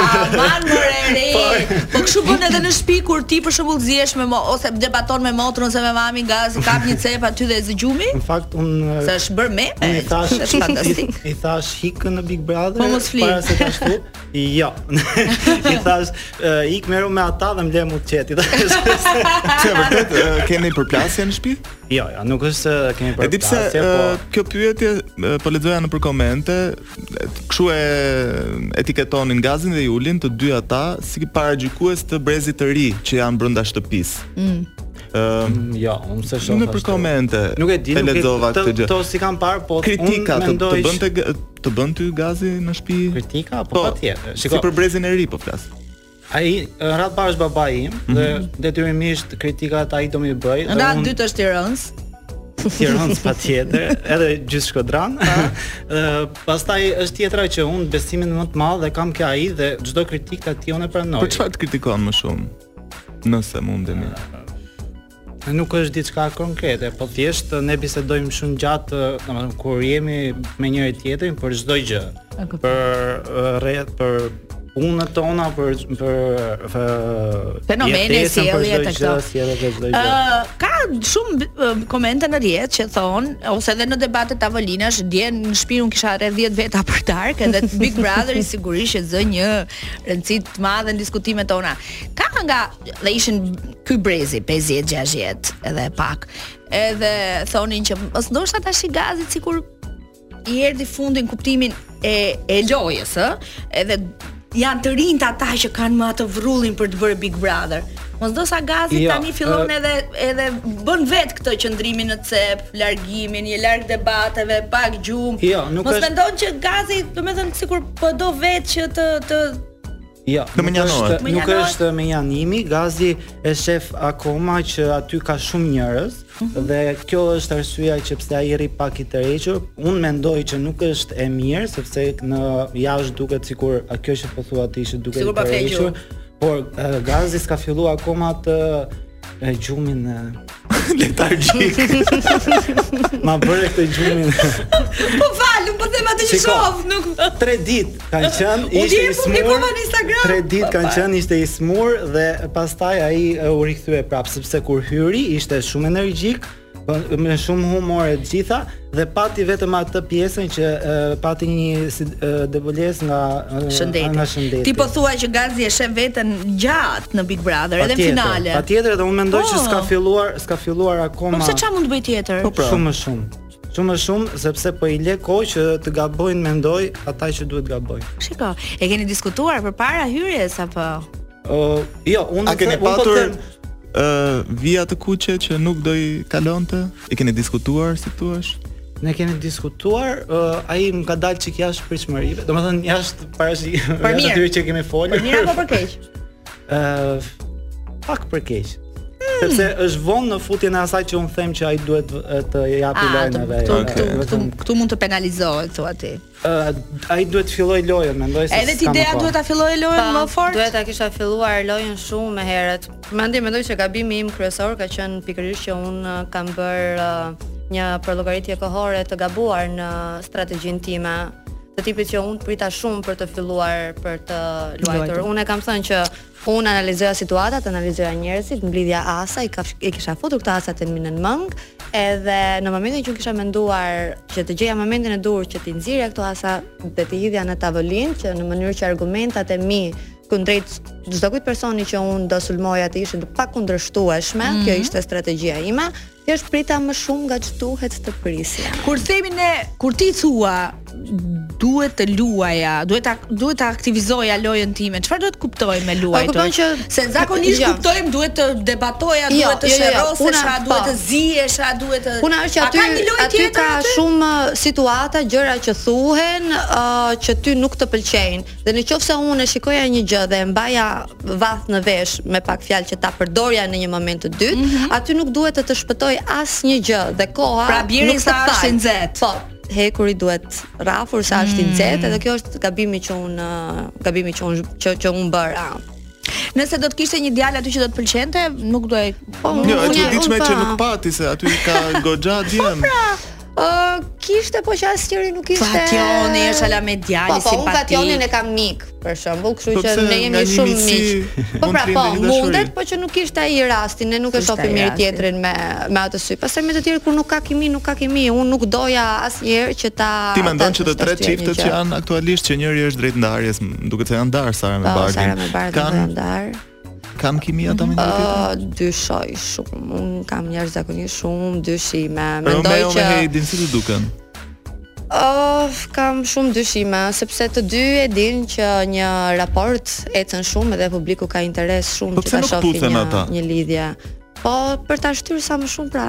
[SPEAKER 1] Aman more re. Po kështu bën edhe në shtëpi kur ti për shembull zihesh me mo, ose debaton me motrën ose me mamin gaz, kap një cep aty dhe e zë gjumi,
[SPEAKER 3] Në fakt unë
[SPEAKER 1] se është bërë meme.
[SPEAKER 3] Unë i thash,
[SPEAKER 1] Është fantastik.
[SPEAKER 3] I, i thash hikën në Big Brother.
[SPEAKER 1] Po mos fli.
[SPEAKER 3] Para se ta shtu. Jo. I thash uh, ik meru me ata dhe më le mu të qetë. I thash.
[SPEAKER 2] Pse vërtet eh, keni përplasje në shtëpi?
[SPEAKER 3] jo, jo, nuk është se kemi
[SPEAKER 2] E
[SPEAKER 3] për po,
[SPEAKER 2] di pse
[SPEAKER 3] plasje,
[SPEAKER 2] eh, kjo pyetje eh, po lexoja nëpër komente, eh, kështu e etiketonin Gazin dhe Julin, të dy ata si paragjykues të brezit të ri që janë brenda shtëpisë. Ëm
[SPEAKER 3] po. Jo, unë s'e shoh.
[SPEAKER 2] nëpër
[SPEAKER 3] ashtu.
[SPEAKER 2] komente.
[SPEAKER 3] Nuk e di,
[SPEAKER 2] e
[SPEAKER 3] nuk e
[SPEAKER 2] lexova
[SPEAKER 3] të-
[SPEAKER 2] këtë gjë.
[SPEAKER 3] To si kam parë, po
[SPEAKER 2] Kritika të, të
[SPEAKER 3] unë mendoj
[SPEAKER 2] bën
[SPEAKER 3] që-
[SPEAKER 2] të g- të bën ty Gazi në shtëpi?
[SPEAKER 3] kritika, po patjetër. Shiko,
[SPEAKER 2] si për brezin e ri po flas.
[SPEAKER 3] ai rrat parë është babai im dhe
[SPEAKER 2] Mhm.
[SPEAKER 3] detyrimisht kritikat ai do më i bëj. dhe
[SPEAKER 1] Nda
[SPEAKER 3] unë-
[SPEAKER 1] dytë është Tiranës.
[SPEAKER 3] Tiranës patjetër, edhe gjithë Shkodran. Ë pastaj është tjetra që unë besimin më të madh dhe kam ke ai dhe çdo kritikë ta ti unë e pranoj.
[SPEAKER 2] Për çfarë të kritikon më shumë? nëse mundemi.
[SPEAKER 3] Nuk është diçka konkrete, po thjesht ne bisedojmë shumë gjatë, ë, domethënë kur jemi me njëri tjetrin për çdo gjë.
[SPEAKER 1] E kuptoj.
[SPEAKER 3] Për ë, rreth për punët tona, për për, për
[SPEAKER 1] Fenomene,
[SPEAKER 3] jetesën, për
[SPEAKER 1] sjellje,
[SPEAKER 3] çdo
[SPEAKER 1] të
[SPEAKER 3] gjë,
[SPEAKER 1] këto.
[SPEAKER 3] sjellje për çdo gjë.
[SPEAKER 1] Ë, ka shumë ë, komente në rrjet që thon ose edhe në debate tavolinash dje në shtëpi unë kisha rreth 10 veta për darkë edhe Big Brother i sigurisht që zë një rëndësi të madhe në diskutimet tona. Ka nga dhe ishin ky brezi 50 60 edhe pak. Edhe thonin që mos ndoshta tash i gazit sikur i erdi fundin kuptimin e e lojës, ë? Edhe janë të rinjt ata që kanë më atë vrullin për të bërë Big Brother. Mos do sa gazi
[SPEAKER 3] Jo,
[SPEAKER 1] tani fillon
[SPEAKER 3] ë-
[SPEAKER 1] edhe edhe bën vet këtë qëndrimin në cep, largimin, i larg debateve, pak gjumë.
[SPEAKER 3] Jo, nuk
[SPEAKER 1] Mos
[SPEAKER 3] është-
[SPEAKER 1] mendon që gazi, domethënë sikur po do vetë që të të
[SPEAKER 3] Jo,
[SPEAKER 2] Të
[SPEAKER 3] nuk
[SPEAKER 2] menjanohet.
[SPEAKER 3] është- Nuk
[SPEAKER 1] Menjanohet.
[SPEAKER 3] është menjanimi, Gazi e shef akoma që aty ka shumë njerëz dhe kjo është arsyeja që pse ai rri pak i tërhequr. Unë mendoj që nuk është e mirë sepse në jashtë duket sikur a kjo që po thua ti ishte duket i
[SPEAKER 1] Sikur pa fletë
[SPEAKER 3] tërhequr,
[SPEAKER 1] gjumë.
[SPEAKER 3] por e, Gazi s'ka filluar akoma të e, gjumin e,
[SPEAKER 2] Letargjik.
[SPEAKER 3] ma bëre këtë gjumin
[SPEAKER 1] po falum, po them atë që
[SPEAKER 3] Shiko.
[SPEAKER 1] shoh, nuk
[SPEAKER 3] 3 ditë kanë qenë
[SPEAKER 1] U
[SPEAKER 3] ishte
[SPEAKER 1] di e
[SPEAKER 3] i smur.
[SPEAKER 1] publikova në Instagram.
[SPEAKER 3] 3 ditë kanë
[SPEAKER 1] Pa.
[SPEAKER 3] qenë ishte i smur dhe pastaj ai e, u rikthye prap sepse kur hyri ishte shumë energjik po- me shumë humor e gjitha dhe pati vetëm atë pjesën që e, pati një si, e, debolesë nga e, nga
[SPEAKER 1] shëndeti.
[SPEAKER 3] shëndeti.
[SPEAKER 1] Ti po thua që gazi e shef veten gjatë në Big Brother, edhe në
[SPEAKER 3] Patjetër,
[SPEAKER 1] finale.
[SPEAKER 3] Patjetër dhe unë mendoj që
[SPEAKER 1] Po.
[SPEAKER 3] s'ka filluar, s'ka filluar akoma.
[SPEAKER 1] Po pra. pse çfarë mund të bëj tjetër?
[SPEAKER 3] Po Shumë më shumë. Shumë më shumë sepse po i le kohë që të gabojnë mendoj ata që duhet gabojnë.
[SPEAKER 1] Shiko, e keni diskutuar përpara hyrjes apo?
[SPEAKER 3] Ë, jo, unë
[SPEAKER 2] A keni
[SPEAKER 3] unë po
[SPEAKER 2] patur
[SPEAKER 3] them-
[SPEAKER 2] ë vija të kuqe që nuk do i kalonte? E keni diskutuar si thua?
[SPEAKER 3] Ne kemi diskutuar, uh, ai më ka dalë çik jashtë pritshmërive, domethënë jashtë parashi
[SPEAKER 1] Për
[SPEAKER 3] jashtë
[SPEAKER 1] mirë.
[SPEAKER 3] atyre që kemi folur.
[SPEAKER 1] Për mirë apo për keq?
[SPEAKER 3] Ë, pak për keq. Sepse është vonë në futjen e asaj që unë them që ai duhet eh, të japi
[SPEAKER 1] A,
[SPEAKER 3] lojën
[SPEAKER 1] Ah, të,
[SPEAKER 3] e vet.
[SPEAKER 1] këtu,
[SPEAKER 2] Okej.
[SPEAKER 1] këtu, këtu, këtu mund të penalizohet thua ti.
[SPEAKER 3] Ë, ai duhet të filloj lojën, mendoj se.
[SPEAKER 1] Edhe ti ideja duhet ta fillojë lojën më fort.
[SPEAKER 4] Duhet ta kisha filluar lojën shumë më herët. Mendi mendoj që gabimi im kryesor ka qenë pikërisht që un kam bër uh, një përllogaritje kohore të gabuar në strategjinë time të tipit që unë prita shumë për të filluar për të
[SPEAKER 1] Luajtur.
[SPEAKER 4] luajtur. Unë e kam thënë që unë analizoja situatat, analizoja njerëzit, mblidhja asa, i, ka, i kisha futur këta asat në minën mëng, edhe në momentin që unë kisha menduar që të gjeja momentin e dur që t'i nxirja këto asa dhe t'i hidhja në tavolinë, që në mënyrë që argumentat e mi kundrejt çdo kujt personi që unë do sulmoja të ishin të pakundërshtueshme, kjo ishte strategjia ime, thjesht prita më shumë nga ç'duhet të prisja.
[SPEAKER 1] Kur themi ne, kur ti thua duhet të luaja, duhet ta duhet ta aktivizoja lojën time. Çfarë duhet kuptoj me luajtur?
[SPEAKER 4] Po, kupton që-
[SPEAKER 1] se zakonisht
[SPEAKER 4] Jo.
[SPEAKER 1] kuptojmë duhet të debatoja,
[SPEAKER 4] Jo,
[SPEAKER 1] duhet të
[SPEAKER 4] jo, jo, jo.
[SPEAKER 1] sherrosesha,
[SPEAKER 4] Puna-
[SPEAKER 1] duhet
[SPEAKER 4] po.
[SPEAKER 1] të zihesha, duhet të
[SPEAKER 4] Puna është
[SPEAKER 1] A
[SPEAKER 4] që
[SPEAKER 1] ka një
[SPEAKER 4] aty
[SPEAKER 1] lojë
[SPEAKER 4] aty
[SPEAKER 1] tjetër
[SPEAKER 4] ka
[SPEAKER 1] aty?
[SPEAKER 4] shumë uh, situata, gjëra që thuhen, uh, që ty nuk të pëlqejnë. Dhe në qoftë se unë e shikoja një gjë dhe e mbaja vath në vesh me pak fjalë që ta përdorja në një moment të dytë, aty nuk duhet të të shpëtoj asnjë gjë dhe koha
[SPEAKER 1] Mhm. Pra, bjeri
[SPEAKER 4] nuk të
[SPEAKER 1] sa është
[SPEAKER 4] fal.
[SPEAKER 1] i nxehtë. Mm.
[SPEAKER 4] Po, hekuri duhet rrafur sa është i nxehtë edhe kjo është gabimi që un gabimi që un që, që un bëra.
[SPEAKER 1] Nëse do të kishte një djalë aty që do të pëlqente, nuk do e
[SPEAKER 4] Po,
[SPEAKER 2] Jo, e
[SPEAKER 4] unë-
[SPEAKER 2] çuditshme
[SPEAKER 4] unë
[SPEAKER 2] që
[SPEAKER 4] pa- Pra,
[SPEAKER 2] nuk pati se aty ka goxha djem.
[SPEAKER 4] Ë, kishte po që asnjëri nuk ishte.
[SPEAKER 1] Fationi është ala me djalë,
[SPEAKER 4] Po, po, unë
[SPEAKER 1] simpatik.
[SPEAKER 4] Fationin e kam mik, për
[SPEAKER 2] Po
[SPEAKER 4] shembull, kështu që
[SPEAKER 2] pse,
[SPEAKER 4] ne
[SPEAKER 2] nga
[SPEAKER 4] jemi
[SPEAKER 2] një
[SPEAKER 4] shumë
[SPEAKER 2] miqsi
[SPEAKER 4] miq. Po
[SPEAKER 2] mund
[SPEAKER 4] pra,
[SPEAKER 2] t'lindë
[SPEAKER 4] po,
[SPEAKER 2] një dashuri.
[SPEAKER 4] mundet, po që nuk ishte ai rasti, ne nuk e
[SPEAKER 1] S'ishte
[SPEAKER 4] shohim
[SPEAKER 1] ai
[SPEAKER 4] mirë
[SPEAKER 1] rasti.
[SPEAKER 4] tjetrin me me atë sy. Pastaj me të tjerë kur nuk ka kimi, nuk ka kimi, unë nuk doja asnjëherë që ta
[SPEAKER 2] Ti mendon
[SPEAKER 4] ta-
[SPEAKER 2] që të
[SPEAKER 4] ta
[SPEAKER 2] tre
[SPEAKER 4] shtyja një
[SPEAKER 2] çiftet
[SPEAKER 4] gjë.
[SPEAKER 2] që janë aktualisht që njëri është drejt ndarjes, m- duket se janë ndarë Sara me
[SPEAKER 4] Po,
[SPEAKER 2] Bardin.
[SPEAKER 4] Sara me Mhm. Bardin
[SPEAKER 2] Kan
[SPEAKER 4] kanë ndar.
[SPEAKER 2] kan kimia ata me njëri tjetrin?
[SPEAKER 4] Ë, dyshoj shumë. Unë kam njerëz zakonisht shumë dyshime. Mendoj
[SPEAKER 2] Romeo me
[SPEAKER 4] që
[SPEAKER 2] Heidin si të duken?
[SPEAKER 4] Oh, kam shumë dyshime, sepse të dy e din që një raport ecën shumë edhe publiku ka interes shumë
[SPEAKER 2] Po
[SPEAKER 4] që
[SPEAKER 2] pse
[SPEAKER 4] ta
[SPEAKER 2] nuk
[SPEAKER 4] shohë
[SPEAKER 2] puthen
[SPEAKER 4] një,
[SPEAKER 2] ata?
[SPEAKER 4] një lidhje. Po për ta shtyr sa më shumë pra.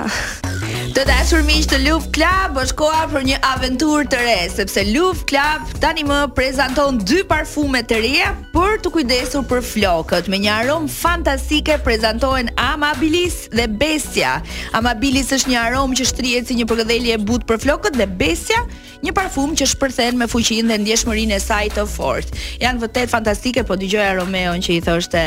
[SPEAKER 1] Të dashur miq të Luft Club, është koha për një aventurë të re, sepse Luft Club tani më prezanton dy parfume të reja për të kujdesur për flokët. Me një aromë fantastike prezantohen Amabilis dhe Bestia. Amabilis është një aromë që shtrihet si një përgëdhelje e butë për flokët dhe Bestia një parfum që shpërthen me fuqinë dhe ndjeshmërinë e saj të fortë. Janë vërtet fantastike, po dëgjoja Romeon që i thoshte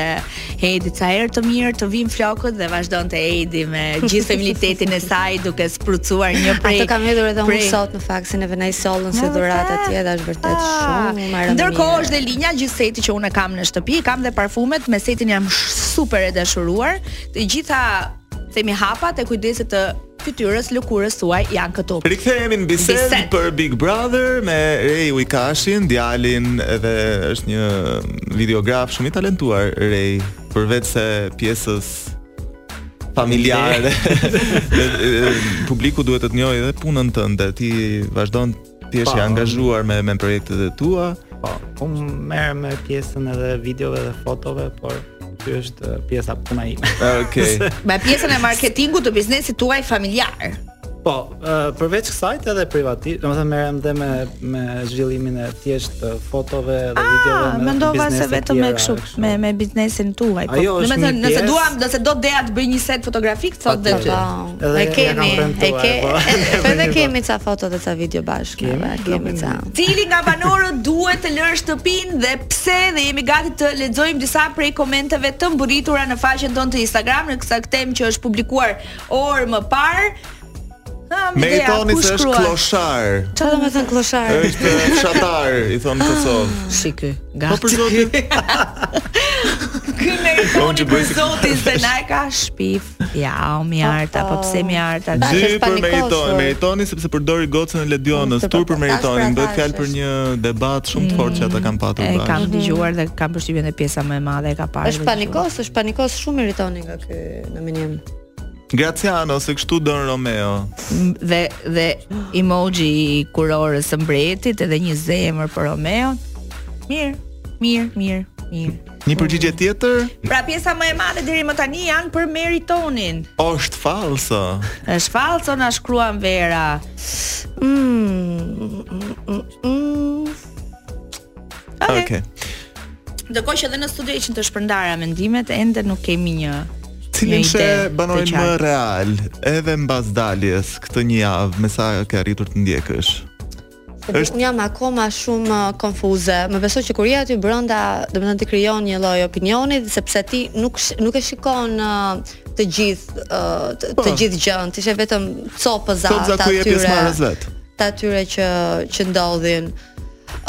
[SPEAKER 1] Heidi ca herë të mirë të vim flokët dhe vazhdonte Heidi me gjithë feminitetin e saj duke sprucuar një prej.
[SPEAKER 4] Ato kam hedhur edhe unë
[SPEAKER 1] prej-
[SPEAKER 4] sot në fakt se ne vënaj sollën si
[SPEAKER 1] Në
[SPEAKER 4] dhuratë
[SPEAKER 1] vërtet?
[SPEAKER 4] atje dhe është vërtet shumë
[SPEAKER 1] Ah,
[SPEAKER 4] marrë.
[SPEAKER 1] Ndërkohë është dhe linja gjithë seti që unë e kam në shtëpi, kam dhe parfumet, me setin jam sh- super e dashuruar. Të gjitha themi hapat e kujdesit të fytyrës, lëkurës tuaj janë këtu.
[SPEAKER 2] Rikthehemi në bisedë
[SPEAKER 1] Bisedë.
[SPEAKER 2] për Big Brother me Rej Uikashin, djalin edhe është një videograf shumë i talentuar Rej, përveç se pjesës familjare. Dhe, e, Publiku duhet të të njohë edhe punën tënde. Ti vazhdon ti je
[SPEAKER 3] Pa.
[SPEAKER 2] i angazhuar me me projektet e tua.
[SPEAKER 3] Po, unë merr me pjesën edhe videove dhe fotove, por ky është eh, pjesa puna ime.
[SPEAKER 2] Okej.
[SPEAKER 1] Me pjesën e marketingut të biznesit tuaj familjar.
[SPEAKER 3] Po, eh, përveç kësaj edhe privati, domethënë merrem dhe me me zhvillimin e thjesht eh, fotove dhe videove
[SPEAKER 1] Ah,
[SPEAKER 3] me
[SPEAKER 1] mendova se
[SPEAKER 3] biznese
[SPEAKER 1] vetëm me
[SPEAKER 3] tjera,
[SPEAKER 1] kështu,
[SPEAKER 3] kështu.
[SPEAKER 1] me me biznesin tuaj. po.
[SPEAKER 3] Ajo është
[SPEAKER 1] domethënë,
[SPEAKER 3] një
[SPEAKER 1] nëse
[SPEAKER 3] pjesë.
[SPEAKER 1] duam, nëse do deja të bëj një set fotografik, thotë dhe ty.
[SPEAKER 4] Po,
[SPEAKER 3] Edhe
[SPEAKER 4] e
[SPEAKER 3] ja
[SPEAKER 4] kemi,
[SPEAKER 3] kam
[SPEAKER 4] e
[SPEAKER 3] premtuar,
[SPEAKER 4] ke,
[SPEAKER 3] po.
[SPEAKER 4] po edhe kemi ca foto dhe ca video bashkë,
[SPEAKER 3] Kemi,
[SPEAKER 4] neve, kemi
[SPEAKER 3] kemi.
[SPEAKER 4] ca.
[SPEAKER 1] Cili nga banorët duhet të lërë shtëpinë dhe pse dhe jemi gati të lexojmë disa prej komenteve të mburitura në faqen tonë të Instagram në këtë tem që është publikuar orë më parë. Ha, me ideja,
[SPEAKER 2] Meritoni
[SPEAKER 1] ku
[SPEAKER 2] se është
[SPEAKER 1] shkruan?
[SPEAKER 2] kloshar.
[SPEAKER 4] Çfarë do të thënë kloshar?
[SPEAKER 2] Është fshatar, i thonë në Kosovë.
[SPEAKER 1] Si ky?
[SPEAKER 2] Po
[SPEAKER 1] Gati.
[SPEAKER 2] për zotin.
[SPEAKER 1] Ky
[SPEAKER 2] Unë që
[SPEAKER 1] meritoni
[SPEAKER 2] bëj
[SPEAKER 1] për
[SPEAKER 2] si-
[SPEAKER 1] zotin se na e ka shpif. Ja, o mjart apo pse mjart atë.
[SPEAKER 4] Tash
[SPEAKER 2] Dy
[SPEAKER 4] është
[SPEAKER 2] për
[SPEAKER 4] panikosur.
[SPEAKER 2] meritoni, meritoni sepse përdori gocën e Ledionës,
[SPEAKER 4] Të
[SPEAKER 2] tur për
[SPEAKER 4] tash
[SPEAKER 2] meritoni,
[SPEAKER 4] pra
[SPEAKER 2] bëhet
[SPEAKER 4] tash
[SPEAKER 2] fjalë për
[SPEAKER 4] është.
[SPEAKER 2] një debat shumë të fortë që ata kanë patur
[SPEAKER 1] E kam
[SPEAKER 2] bashkë.
[SPEAKER 1] dëgjuar dhe kam përshtypjen e pjesa më e madhe e ka parë.
[SPEAKER 4] Është panikos, është panikos shumë irritoni nga ky nominim.
[SPEAKER 2] Graciano, se kështu don Romeo.
[SPEAKER 1] M- dhe dhe emoji i kurorës së mbretit edhe një zemër për Romeon. Mirë, mirë, mirë, mirë.
[SPEAKER 2] Një përgjigje tjetër
[SPEAKER 1] Pra pjesa më e madhe deri më tani janë për Meritonin.
[SPEAKER 2] është falso.
[SPEAKER 1] Është falso na shkruan Vera.
[SPEAKER 4] Mm, mm, mm, mm.
[SPEAKER 2] Okej.
[SPEAKER 1] Ndërkohë që edhe në studio ishin të shpërndara mendimet, ende nuk kemi një
[SPEAKER 2] Cilin
[SPEAKER 1] një
[SPEAKER 2] që
[SPEAKER 1] ide të
[SPEAKER 2] banorin më
[SPEAKER 1] qartë.
[SPEAKER 2] real, edhe mbas daljes këtë një javë, me sa ke arritur të ndjekësh? Është-
[SPEAKER 4] Unë jam akoma shumë uh, konfuze. Më besoj që kur je aty brenda, domethënë ti krijon një lloj opinioni sepse ti nuk sh- nuk e shikon uh, të gjithë uh, të,
[SPEAKER 2] Po.
[SPEAKER 4] të gjithë gjën, ti je vetëm copëza
[SPEAKER 2] Sot za
[SPEAKER 4] të
[SPEAKER 2] ku je pjesëmarrës
[SPEAKER 4] atyre
[SPEAKER 2] vet.
[SPEAKER 4] të atyre që që ndodhin.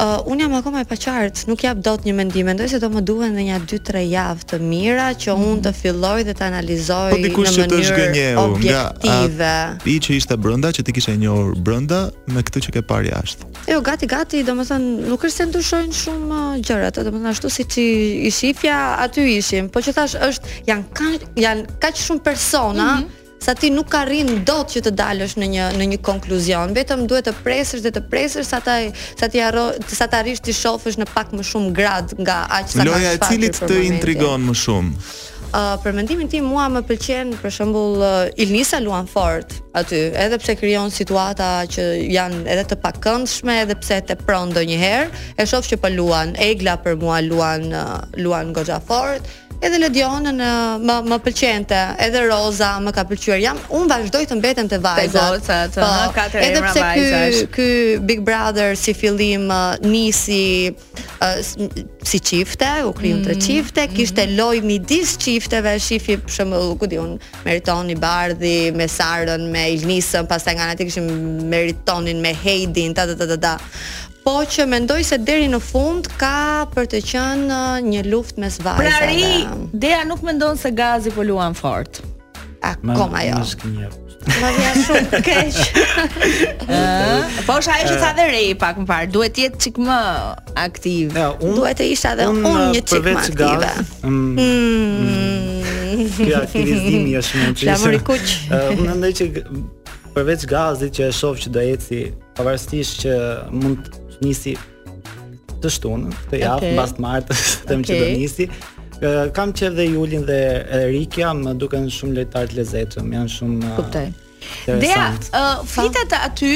[SPEAKER 4] Uh, unë jam akoma e paqartë, nuk jap dot një mendim. Mendoj se do më duhen edhe një 2-3 javë të mira që unë të filloj dhe të analizoj
[SPEAKER 2] Po dikush që
[SPEAKER 4] në
[SPEAKER 2] të
[SPEAKER 4] mënyrë
[SPEAKER 2] zhgënjeu nga
[SPEAKER 4] objektive.
[SPEAKER 2] i që ishte brenda, që ti kishe njohur brenda me këtë që ke parë jashtë.
[SPEAKER 4] Jo, gati gati, domethënë nuk është se ndryshojnë shumë uh, gjërat, domethënë ashtu siç i, i shifja aty ishim, po që thash është janë ka, janë kaq shumë persona
[SPEAKER 2] Mhm.
[SPEAKER 4] sa ti nuk arrin dot që të dalësh në një në një konkluzion. Vetëm duhet të presësh dhe të presësh sa ta sa ti harro sa ta arrish ti shofësh në pak më shumë grad nga aq sa ka
[SPEAKER 2] Loja e cilit të intrigon më shumë.
[SPEAKER 4] Uh, për mendimin tim mua më pëlqen për shembull uh, Ilnisa luan fort aty, edhe pse krijon situata që janë edhe të pakëndshme, edhe pse te pron ndonjëherë, e shoh që po luan. Egla për mua luan uh, luan goxha fort. Edhe Ledionën uh, më më pëlqente, edhe Roza më ka pëlqyer. Jam un vazhdoj të mbetem te vajzat. Po,
[SPEAKER 1] gocat, ëh, katër
[SPEAKER 4] edhe
[SPEAKER 1] emra
[SPEAKER 4] pse
[SPEAKER 1] vajzash.
[SPEAKER 4] ky ky Big Brother si fillim uh, nisi uh, s- si çifte, u krijun tre çifte, kishte lojë midis çifteve, shifi për shembull, ku diun, Meritoni Bardhi me Sarën, me Ilnisën, pastaj nga ana tjetër kishim Meritonin me Heidin, ta ta ta ta. ta. Po që mendoj se deri në fund ka për të qenë uh, një luftë mes vajzave.
[SPEAKER 1] Pra ri, Dea nuk mendon se gazi po luan fort.
[SPEAKER 3] Më-
[SPEAKER 4] akoma jo.
[SPEAKER 3] më shkënjev.
[SPEAKER 4] Ma vjen shumë keq.
[SPEAKER 1] Ëh, po është ajo që tha dhe Rei pak më parë, duhet të jetë çik më aktiv.
[SPEAKER 3] Ja, unë
[SPEAKER 4] Duhet të isha edhe unë një çik më
[SPEAKER 3] përveç
[SPEAKER 4] aktive. Hmm.
[SPEAKER 3] gaz, mm, Ky aktivizimi është shumë i
[SPEAKER 4] Flamur i kuq.
[SPEAKER 3] Ë, Unë mendoj që g- përveç gazit që e shoh që do eci, pavarësisht që mund të nisi të shtunën, këtë javë,
[SPEAKER 1] Okej.
[SPEAKER 3] mbas të martës, them që do
[SPEAKER 1] Okej.
[SPEAKER 3] nisi. Uh, Ë, Kam qef dhe Julin dhe Erikja, më duken shumë uh, lojtarë të lezetshëm, janë shumë ë,
[SPEAKER 1] Kuptoj. Dea,
[SPEAKER 3] Interesant.
[SPEAKER 1] uh, flitet aty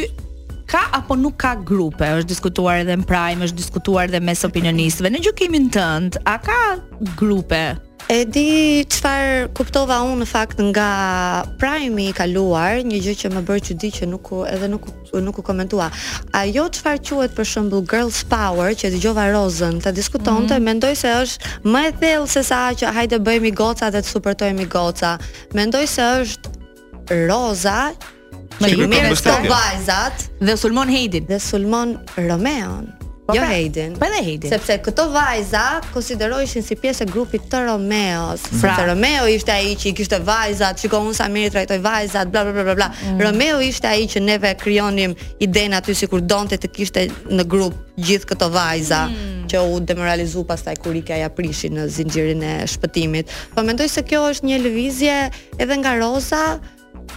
[SPEAKER 1] ka apo nuk ka grupe, është diskutuar edhe në Prime, është diskutuar edhe mes opinionistëve. Në gjykimin tënd, a ka grupe?
[SPEAKER 4] E di çfarë kuptova unë në fakt nga Prime i kaluar, një gjë që më bëri çudi që nuk u- edhe nuk u- nuk u komentua. Ajo çfarë quhet për shembull Girls Power që dëgjova Rozën ta diskutonte,
[SPEAKER 1] Mhm.
[SPEAKER 4] mendoj se është më e thellë se sa që hajde bëhemi goca dhe të supertojemi goca. Mendoj se është Roza
[SPEAKER 1] Më
[SPEAKER 4] që i
[SPEAKER 2] kërkon
[SPEAKER 4] merr këto
[SPEAKER 2] mbështetje.
[SPEAKER 4] vajzat
[SPEAKER 1] Dhe Sulmon Hejdin.
[SPEAKER 4] dhe sulmon Romeon,
[SPEAKER 1] Po
[SPEAKER 4] jo
[SPEAKER 1] pra,
[SPEAKER 4] Heidin.
[SPEAKER 1] Po edhe Hejdin.
[SPEAKER 4] Sepse këto vajza konsideroheshin si pjesë e grupit të Romeos.
[SPEAKER 1] Pra.
[SPEAKER 4] Sepse Romeo ishte ai që i kishte vajzat, shiko unë sa mirë i trajtoj vajzat, bla bla bla bla bla. Romeo ishte ai që neve krijonim idenë aty sikur donte të kishte në grup gjithë këto vajza që u demoralizu pastaj kur ikja ja prishin në zinxhirin e shpëtimit. Po mendoj se kjo është një lëvizje edhe nga Roza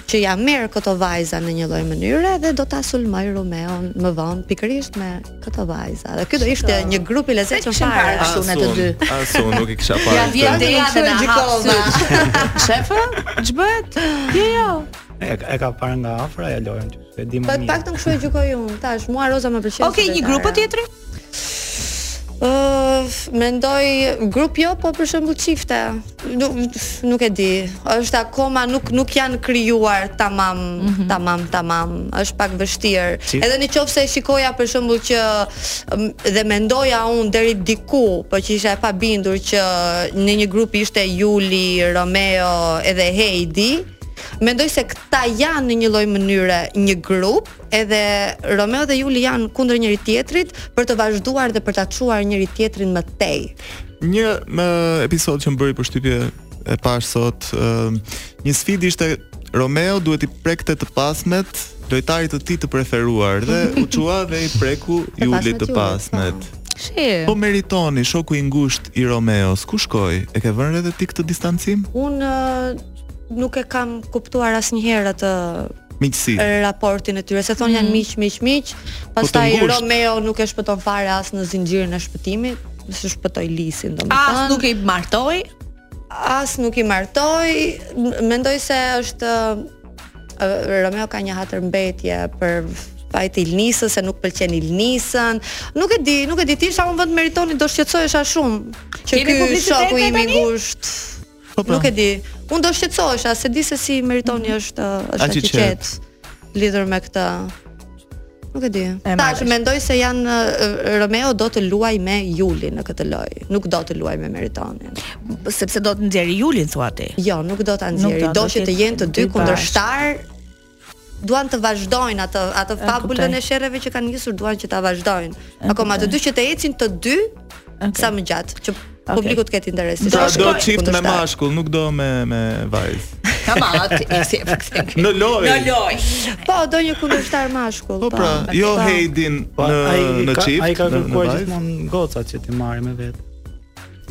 [SPEAKER 4] që ja merr këto vajza në një lloj mënyre dhe do ta sulmoj Romeon më vonë pikërisht me këto vajza. Dhe ky do ishte një grup i lezetshëm
[SPEAKER 1] Kishin parë
[SPEAKER 4] fare.
[SPEAKER 1] kështu
[SPEAKER 2] Asun,
[SPEAKER 1] në të dy.
[SPEAKER 2] Asun, nuk i kisha parë.
[SPEAKER 1] Ja
[SPEAKER 2] këtë.
[SPEAKER 1] vjen Dea
[SPEAKER 4] Kështu
[SPEAKER 1] dhe
[SPEAKER 4] e
[SPEAKER 1] na hap
[SPEAKER 4] gjikova.
[SPEAKER 1] syt. Shefë, ç'bëhet? Jo, jo.
[SPEAKER 3] E, e ka parë nga afra ja Loren, që e di më
[SPEAKER 4] Po
[SPEAKER 3] mirë.
[SPEAKER 4] të paktën kështu e gjykoj unë. Tash mua Roza më pëlqen.
[SPEAKER 1] Okej, një grup po tjetër?
[SPEAKER 4] Ëh, mendoj grup jo, po për shembull çifte. Nuk nuk e di. Është akoma nuk nuk janë krijuar tamam, tamam, tamam. Është pak vështirë.
[SPEAKER 3] Çift?
[SPEAKER 4] Edhe në qoftë se shikoja për shembull që ëm, dhe mendoja unë deri diku, po që isha e pabindur që në një grup ishte Juli, Romeo edhe Heidi. Mendoj se këta janë në një lloj mënyre një grup, edhe Romeo dhe Juli janë kundër njëri tjetrit për të vazhduar dhe për ta çuar njëri tjetrin më tej.
[SPEAKER 2] Një më, episod që më bëri përshtypje e pash sot, ë, një sfid ishte Romeo duhet i prekte të pasmet lojtarit të tij të preferuar dhe u çua dhe i preku
[SPEAKER 4] Të
[SPEAKER 2] Julit të
[SPEAKER 4] pasmet Julit,
[SPEAKER 2] pasmet.
[SPEAKER 1] Shi.
[SPEAKER 2] Po meritoni shoku i ngushtë i Romeos, ku shkoi? E ke vënë edhe ti këtë distancim?
[SPEAKER 4] Unë ë, nuk e kam kuptuar asnjëherë atë
[SPEAKER 2] Miqësinë.
[SPEAKER 4] raportin e tyre. Se thonë janë miq, miq, miq. Pastaj
[SPEAKER 2] ngusht.
[SPEAKER 4] Romeo nuk e shpëton fare as në zinxhirin e shpëtimit, se shpëtoi Lisin
[SPEAKER 1] As Ah, nuk
[SPEAKER 4] domethënë.
[SPEAKER 1] i martoi.
[SPEAKER 4] As nuk i martoi. M- Mendoj se është ë, Romeo ka një hatërmbetje për fajt Ilnisës, se nuk pëlqen Ilnisën. Nuk e di, nuk e di ti sa unë vend meritoni do shqetësohesha shumë. Që
[SPEAKER 1] Kemi
[SPEAKER 4] ky
[SPEAKER 1] publicitet
[SPEAKER 4] shoku
[SPEAKER 1] ne
[SPEAKER 4] im i
[SPEAKER 1] tani?
[SPEAKER 4] ngushtë.
[SPEAKER 2] Po pra.
[SPEAKER 4] Nuk e di. Unë do shqetësohesha se di se si meritoni është është
[SPEAKER 2] A që
[SPEAKER 4] aq i qetë lidhur me këtë. Nuk e di.
[SPEAKER 1] E
[SPEAKER 4] Tash
[SPEAKER 1] marrësh.
[SPEAKER 4] mendoj se janë ë, Romeo do të luaj me Juli në këtë lojë. Nuk do të luaj me Meritonin.
[SPEAKER 1] sepse do të nxjerrë Julin thua ti.
[SPEAKER 4] Jo, nuk do ta
[SPEAKER 1] Nuk do,
[SPEAKER 4] nxjerrë. Do
[SPEAKER 1] do
[SPEAKER 4] që të
[SPEAKER 1] t'jetë
[SPEAKER 4] jenë të dy
[SPEAKER 1] dy
[SPEAKER 4] kundërshtar duan të vazhdojnë atë atë fabulën
[SPEAKER 1] kuptoj.
[SPEAKER 4] e sherreve që kanë nisur, duan që ta vazhdojnë. Akoma të dy që të ecin të dy sa më gjatë, që publiku të ketë interes.
[SPEAKER 2] Pra
[SPEAKER 1] Do
[SPEAKER 2] do
[SPEAKER 1] shkoj-
[SPEAKER 2] çift me
[SPEAKER 4] Kundërshtar.
[SPEAKER 2] mashkull, nuk do me me vajzë.
[SPEAKER 1] Kamat,
[SPEAKER 2] Në lojë.
[SPEAKER 1] Në loj.
[SPEAKER 4] Po, do një kundërshtar mashkull.
[SPEAKER 2] Po pra, jo
[SPEAKER 4] Po.
[SPEAKER 2] Heidin
[SPEAKER 3] Po,
[SPEAKER 2] në
[SPEAKER 3] ai
[SPEAKER 2] në
[SPEAKER 3] ka-
[SPEAKER 2] çift.
[SPEAKER 3] Ai ka
[SPEAKER 2] në- në
[SPEAKER 3] kërkuar
[SPEAKER 2] vajzë.
[SPEAKER 3] gjithmonë gocat që ti marrë me vetë.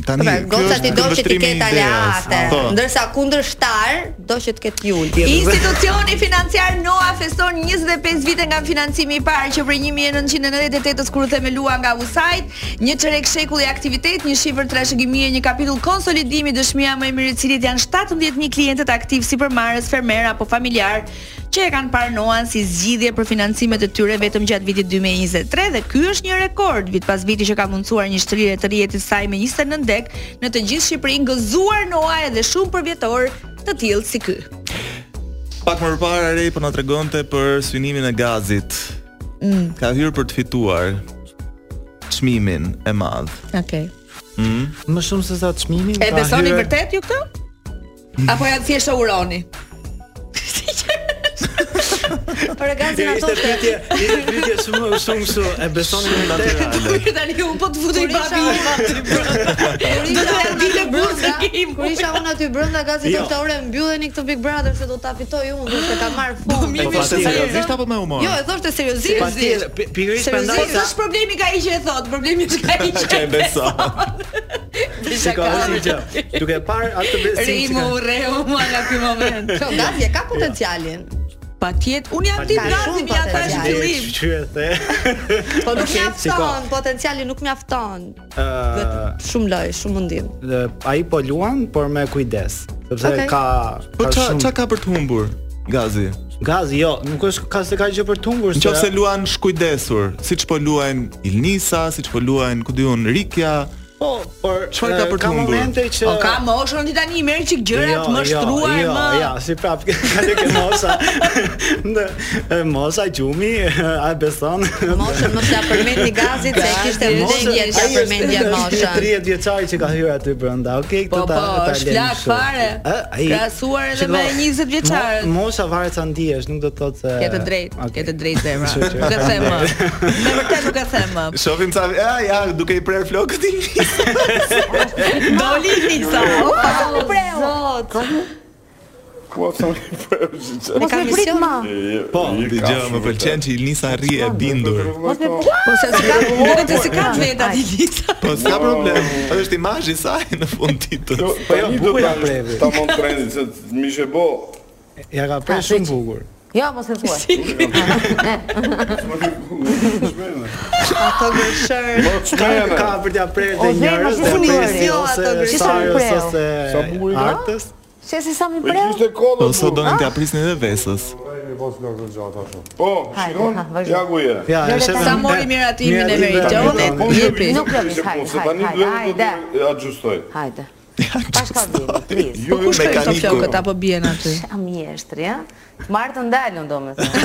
[SPEAKER 2] Tani,
[SPEAKER 4] Pra,
[SPEAKER 2] ky
[SPEAKER 4] goca
[SPEAKER 2] është
[SPEAKER 4] ti do që ti
[SPEAKER 2] këmbështrimi i
[SPEAKER 4] ketë
[SPEAKER 2] ideas.
[SPEAKER 4] aleate,
[SPEAKER 2] Po.
[SPEAKER 4] ndërsa kundërshtar do që të ketë jul.
[SPEAKER 1] Institucioni financiar NOA feston 25 vite nga financimi i parë që prej 1998-s kur u themelua nga USAID, një çerek shekull i aktivitet, një shifër trashëgimie, një kapitull konsolidimi, dëshmia më e mirë e cilit janë 17000 klientët aktiv si përmarës, fermer apo familjar që e kanë parë Noan si zgjidhje për financimet e tyre vetëm gjatë vitit 2023 dhe ky është një rekord vit pas viti që ka mundsuar një shtrirje të rrjetit saj me 29 dek në të gjithë Shqipërinë, gëzuar Noa edhe shumë përvjetor të tillë si ky.
[SPEAKER 2] Pak më parë Rej po na tregonte për synimin e gazit.
[SPEAKER 4] Mm.
[SPEAKER 2] Ka hyrë për të fituar çmimin e madh.
[SPEAKER 1] Okej.
[SPEAKER 3] Më shumë se sa çmimin
[SPEAKER 1] E
[SPEAKER 3] ka
[SPEAKER 1] besoni
[SPEAKER 3] hyrë-
[SPEAKER 1] vërtet ju këtë? Apo ja thjesht e uroni?
[SPEAKER 4] Por e gazin ato
[SPEAKER 3] Ishte pyetje, ishte pyetje shumë shumë kështu, e besoni vërtet?
[SPEAKER 1] Mirë tani un po të futej babi po im aty brenda. Do të ja dilë burrën im.
[SPEAKER 4] Kur isha unë aty brenda gazit
[SPEAKER 3] Jo.
[SPEAKER 4] jo. orë mbylleni këtë Big Brother se do ta fitoj unë, do të ka marr fund.
[SPEAKER 2] Po
[SPEAKER 3] mirë,
[SPEAKER 2] fashë
[SPEAKER 3] mirë.
[SPEAKER 2] seriozisht apo me humor?
[SPEAKER 4] Jo, e thoshte seriozisht.
[SPEAKER 3] Patjetër, pi- pikërisht prandaj
[SPEAKER 1] Seriozisht,
[SPEAKER 3] sa
[SPEAKER 1] është Po problemi ka ai që e thot, problemi është ka ai
[SPEAKER 2] Që
[SPEAKER 1] që
[SPEAKER 2] e beson.
[SPEAKER 3] shikoj si që duke parë atë besim që
[SPEAKER 1] Rimu,
[SPEAKER 3] ka.
[SPEAKER 1] reu, mua nga ky moment.
[SPEAKER 4] Kjo gazi Jo, e
[SPEAKER 3] Jo.
[SPEAKER 4] ka potencialin.
[SPEAKER 1] Patjet, un jam tim
[SPEAKER 4] Ka
[SPEAKER 1] gati,
[SPEAKER 4] shumë
[SPEAKER 1] ja thash
[SPEAKER 4] potencial.
[SPEAKER 1] fillim.
[SPEAKER 3] Qyete.
[SPEAKER 4] Po nuk
[SPEAKER 3] Okej,
[SPEAKER 4] mjafton, potenciali nuk mjafton.
[SPEAKER 3] Ë,
[SPEAKER 4] Shumë loj, shumë mundim.
[SPEAKER 3] dhe ai po luan, por me kujdes, sepse
[SPEAKER 4] Okej.
[SPEAKER 3] ka
[SPEAKER 2] Po
[SPEAKER 3] ka
[SPEAKER 2] ça
[SPEAKER 3] shumë
[SPEAKER 2] ça ka për të humbur? Gazi.
[SPEAKER 3] Gazi, jo, nuk është ka se ka gjë për të humbur.
[SPEAKER 2] Në qoftë se luan shkujdesur, siç po luajn Ilnisa, siç po luajn ku diun Rikja,
[SPEAKER 3] po, por
[SPEAKER 2] Çfarë ka
[SPEAKER 3] e,
[SPEAKER 2] për të
[SPEAKER 3] ka
[SPEAKER 2] humbur?
[SPEAKER 3] momente që
[SPEAKER 1] O Po ka moshën ti tani merr çik gjëra të më shtruar
[SPEAKER 3] jo,
[SPEAKER 1] më.
[SPEAKER 3] Ja, si prap ka tek e mosha. Në e, mosha gjumi, a e beson?
[SPEAKER 4] Moshën më pla përmendni gazit se kishte
[SPEAKER 1] Gazi,
[SPEAKER 4] vdekje
[SPEAKER 1] moshën,
[SPEAKER 4] ja
[SPEAKER 1] ai
[SPEAKER 4] përmendja moshën.
[SPEAKER 3] 30 vjeçari që ka hyrë aty brenda. Okej,
[SPEAKER 1] Po
[SPEAKER 3] këtë ta
[SPEAKER 1] po,
[SPEAKER 3] ta
[SPEAKER 1] është
[SPEAKER 3] lejmë
[SPEAKER 1] flak
[SPEAKER 3] kështu.
[SPEAKER 1] fare.
[SPEAKER 3] E, ai-
[SPEAKER 1] Krahasuar edhe
[SPEAKER 3] Shiko,
[SPEAKER 1] me 20 vjeçarët.
[SPEAKER 3] mo- Mosha varet sa ndihesh, nuk do të thotë se
[SPEAKER 1] Ke të drejtë,
[SPEAKER 3] Okej.
[SPEAKER 1] ke të drejtë zemra.
[SPEAKER 3] Kështu që-
[SPEAKER 1] Nuk e them më. Me vërtet nuk e them më.
[SPEAKER 2] Shofim sa ja ja duke i prerë flokët i njësë.
[SPEAKER 1] Doli Nisa. O, pas u preu.
[SPEAKER 5] Mua thonë i prerë që që
[SPEAKER 4] Ne kam mision.
[SPEAKER 2] Po, dëgjoj, më pëlqen që Ilnisa rri e bindur.
[SPEAKER 1] Po se si ka, duket se si ka vetë aty Nisa.
[SPEAKER 2] Po s'ka problem. Është imazhi i saj në fund ditës.
[SPEAKER 5] Po
[SPEAKER 3] jo,
[SPEAKER 5] jo,
[SPEAKER 3] bukur
[SPEAKER 5] bukur
[SPEAKER 3] ja previ.
[SPEAKER 5] Ta mund trendit se mi she bo
[SPEAKER 3] Ja ka prej shumë bukur.
[SPEAKER 6] Jo, mos e thuaj.
[SPEAKER 4] Ato gërshër.
[SPEAKER 5] Po të mene
[SPEAKER 3] Ka për t'ja prerë të
[SPEAKER 6] O, zemra,
[SPEAKER 3] njerëz
[SPEAKER 6] po puni
[SPEAKER 3] presi,
[SPEAKER 4] jo,
[SPEAKER 3] ose
[SPEAKER 4] ato
[SPEAKER 6] gjithë
[SPEAKER 3] sarës,
[SPEAKER 6] preu.
[SPEAKER 3] ose
[SPEAKER 5] Sa bukur jo? i ka?
[SPEAKER 3] artës.
[SPEAKER 6] Se si sa mi
[SPEAKER 5] Me
[SPEAKER 6] preu?
[SPEAKER 5] kishte kodë
[SPEAKER 2] Po sa
[SPEAKER 7] Ah.
[SPEAKER 2] donin t'ia prisnin edhe vesës.
[SPEAKER 5] Po,
[SPEAKER 6] Hajde,
[SPEAKER 5] shikon,
[SPEAKER 6] ha, vazhdo.
[SPEAKER 5] ja ku je
[SPEAKER 3] Ja,
[SPEAKER 6] Lore,
[SPEAKER 3] është
[SPEAKER 6] sa
[SPEAKER 1] mori miratimin e merit,
[SPEAKER 5] Ja,
[SPEAKER 1] Jo,
[SPEAKER 5] po,
[SPEAKER 1] ne-
[SPEAKER 5] po,
[SPEAKER 1] jepi.
[SPEAKER 5] jepi.
[SPEAKER 6] Nuk lëviz,
[SPEAKER 5] Se
[SPEAKER 6] hajde,
[SPEAKER 5] po, se tani
[SPEAKER 6] hajde,
[SPEAKER 5] duhet të
[SPEAKER 6] hajde.
[SPEAKER 5] të ajustoj
[SPEAKER 6] Hajde. Bashka vini, please.
[SPEAKER 5] Ju
[SPEAKER 2] Po,
[SPEAKER 1] Kush ka këto
[SPEAKER 2] Mekaniku.
[SPEAKER 1] flokët apo bien aty?
[SPEAKER 6] A mjeshtri, ja? Të marrë të ndalën, do me thënë.
[SPEAKER 5] Jo,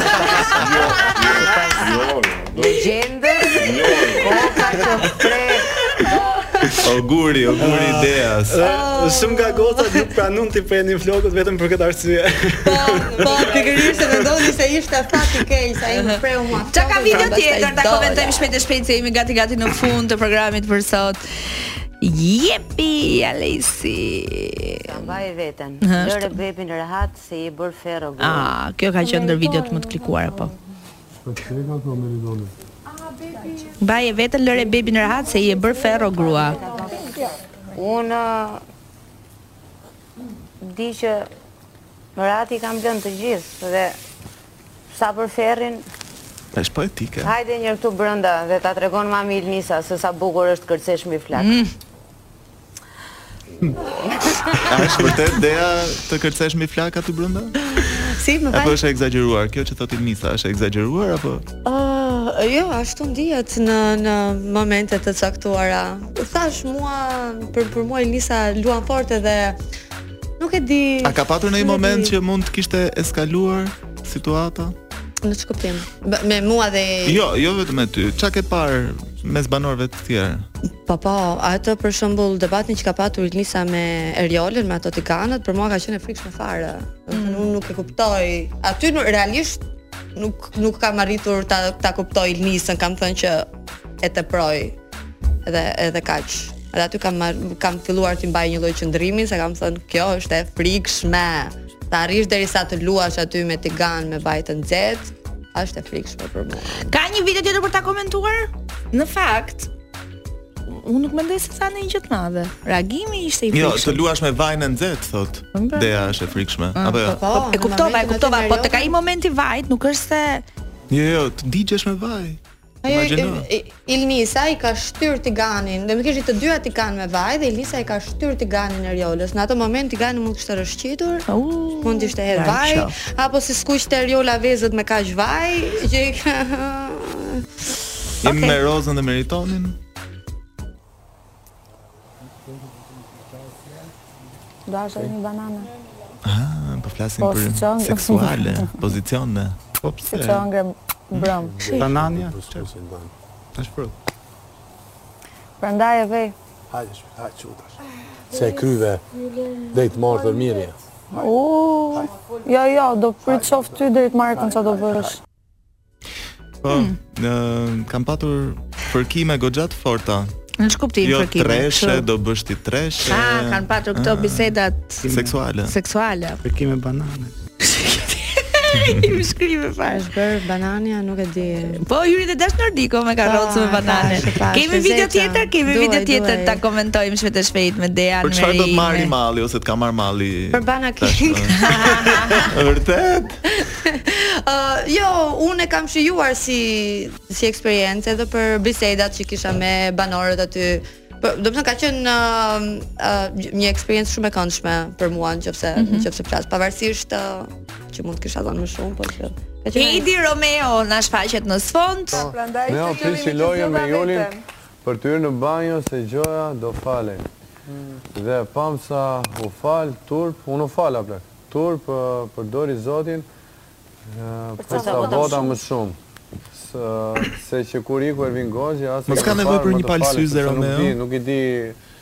[SPEAKER 5] jo, do-
[SPEAKER 6] Gjendër,
[SPEAKER 5] jo, jo.
[SPEAKER 6] koka që prek.
[SPEAKER 2] Oguri, oguri i ideas.
[SPEAKER 3] Ë, Shumë nga gocat nuk pranun t'i prenin flokët vetëm për këtë arsye.
[SPEAKER 4] Po, po, pikërisht se mendoni se ishte fat i keq, ai më preu mua.
[SPEAKER 1] Qa ka video
[SPEAKER 4] Pastaj
[SPEAKER 1] tjetër, ta
[SPEAKER 4] dola.
[SPEAKER 1] komentojmë shpejt e shpejt se jemi gati gati në fund të programit për sot. Jepi, Alesi.
[SPEAKER 6] Ka mbaj veten.
[SPEAKER 1] Aha,
[SPEAKER 6] Lëre bebin rehat se i bër ferro gurë.
[SPEAKER 1] Ah, kjo ka qenë ndër videot më të klikuara po. Baje vetën lëre bebin rahat se i e bër ferro grua.
[SPEAKER 6] Unë uh, di që Mërati kam blënë të gjithë dhe sa për ferrin,
[SPEAKER 2] Tash po etike.
[SPEAKER 6] hajde një këtu brënda dhe ta tregon mami Ilnisa se sa bukur është kërcesh mbi flak.
[SPEAKER 2] A është vërtet dea të kërcesh mbi flak aty brenda?
[SPEAKER 4] Si më
[SPEAKER 2] Apo është e egzageruar? Kjo që thotë Ilnisa, është e egzageruar apo?
[SPEAKER 4] Uh, jo, ashtu ndihet në në momente të caktuara. Thash mua për për mua Elisa luan fort edhe nuk e di.
[SPEAKER 2] A ka patur në një
[SPEAKER 4] Nuk e
[SPEAKER 2] moment
[SPEAKER 4] di.
[SPEAKER 2] që mund të kishte eskaluar situata?
[SPEAKER 4] në ç'kuptim? B- Me mua dhe
[SPEAKER 2] Jo, jo vetëm me ty. Çka ke parë mes banorëve të tjerë?
[SPEAKER 4] Po po, atë për shembull debatin që ka patur Elisa me Eriolën, me ato tiganët, për mua ka qenë e frikshme fare. Mm. Unë nuk e kuptoj. Aty nuk, realisht nuk nuk kam arritur ta ta kuptoj Elnisën, kam thënë që e teproj. Edhe edhe kaq. Edhe aty kam marr- kam filluar të mbaj një lloj qëndrimi, se kam thënë kjo është e frikshme. Ta arrish derisa të luash aty me tigan me bajtë të nxehtë, është e frikshme për mua.
[SPEAKER 1] Ka një video tjetër për ta komentuar? Në fakt, unë nuk mendoj se sa në një gjë të madhe. Reagimi ishte i
[SPEAKER 2] Jo,
[SPEAKER 1] frikshëm.
[SPEAKER 2] të luash me vajin e nxehtë thot.
[SPEAKER 1] Ëmbra.
[SPEAKER 2] Dea është e frikshme. Apo jo?
[SPEAKER 4] Po,
[SPEAKER 1] E
[SPEAKER 4] në
[SPEAKER 1] kuptova, e
[SPEAKER 4] momentin
[SPEAKER 1] kuptova,
[SPEAKER 4] aty
[SPEAKER 1] po
[SPEAKER 4] me
[SPEAKER 1] të ka i
[SPEAKER 4] Eriolën-
[SPEAKER 1] momenti vajt, nuk është se
[SPEAKER 2] Jo, jo, të digjesh me vaj.
[SPEAKER 4] Ajo
[SPEAKER 2] Imagjino.
[SPEAKER 4] i- i- Ilnisa i ka shtyr Tiganin, do të kishte të dyja Tigan me vaj dhe Ilnisa i ka shtyr Tiganin e Riolës. Në atë moment Tigani mund të kishte rëshqitur,
[SPEAKER 1] u
[SPEAKER 4] mund të ishte hedh vaj, apo si skuqte Riola vezët me kaq vaj që i ka
[SPEAKER 2] Jemi me Rozën dhe Meritonin.
[SPEAKER 6] Do ashtë një banana.
[SPEAKER 2] Ah, Po flasim
[SPEAKER 6] Po, si
[SPEAKER 2] për
[SPEAKER 6] çon-
[SPEAKER 2] seksuale, pozicione. Po pse?
[SPEAKER 6] ngre brëm.
[SPEAKER 3] Banania.
[SPEAKER 2] Tash për.
[SPEAKER 6] Prandaj e vej.
[SPEAKER 8] Hajde, shpejt, hajde, qutash. Se e kryve, dhe i të marrë për mirje.
[SPEAKER 6] Uuu, jo, jo, do prit qoftë ty deri të marrë kënë që do bërësh.
[SPEAKER 2] Po, ë, kam patur fërkime goxha të forta.
[SPEAKER 1] Në shkuptim
[SPEAKER 2] Jo
[SPEAKER 1] fërkime,
[SPEAKER 2] treshe,
[SPEAKER 1] kështu.
[SPEAKER 2] do bësh ti treshe.
[SPEAKER 1] Ah, kanë patur këto bisedat
[SPEAKER 2] seksuale.
[SPEAKER 1] seksuale.
[SPEAKER 3] Përkime banane.
[SPEAKER 1] Im shkrive fash.
[SPEAKER 4] bër banania, nuk e di.
[SPEAKER 1] Po hyri dhe dash Nordiko me karrocë
[SPEAKER 4] Pa,
[SPEAKER 1] me banane.
[SPEAKER 4] pa, pa,
[SPEAKER 1] Kemi
[SPEAKER 4] është e
[SPEAKER 1] video
[SPEAKER 4] zezë.
[SPEAKER 1] tjetër, kemi
[SPEAKER 4] Duaj,
[SPEAKER 1] video tjetër
[SPEAKER 4] duaj.
[SPEAKER 1] ta komentojmë shpejt e shpejt me Dejan
[SPEAKER 2] Për çfarë do të
[SPEAKER 1] Meri,
[SPEAKER 2] marri
[SPEAKER 1] me-
[SPEAKER 2] malli ose të ka marr malli?
[SPEAKER 4] Për Bana
[SPEAKER 2] tash,
[SPEAKER 4] King.
[SPEAKER 2] ë? Vërtet?
[SPEAKER 4] Ë, jo, unë e kam shijuar si si eksperiencë edhe për bisedat që kisha me banorët aty Po, do të thënë ka qenë ë, ë, një eksperiencë shumë e këndshme për mua nëse nëse flas, pavarësisht ë, që mund të kisha dhënë më shumë, po që ka qenë
[SPEAKER 1] Edi Romeo na shfaqet në sfond.
[SPEAKER 6] Po.
[SPEAKER 9] Prandaj
[SPEAKER 7] Ne o
[SPEAKER 9] këtë
[SPEAKER 7] prisi
[SPEAKER 9] qëllimin që
[SPEAKER 7] loje me
[SPEAKER 9] zëna
[SPEAKER 7] Julin
[SPEAKER 9] vetëm.
[SPEAKER 7] për të hyrë në banjo se gjoja do falen. Dhe pam sa u fal turp, unë u fala plak. Turp ë, përdori Zotin ë, për sa vota më shumë. Së- Se që kur iku Ervin Goxhi as
[SPEAKER 2] Mos ka nevojë për një palë syze, Romeo?
[SPEAKER 7] Nuk i di,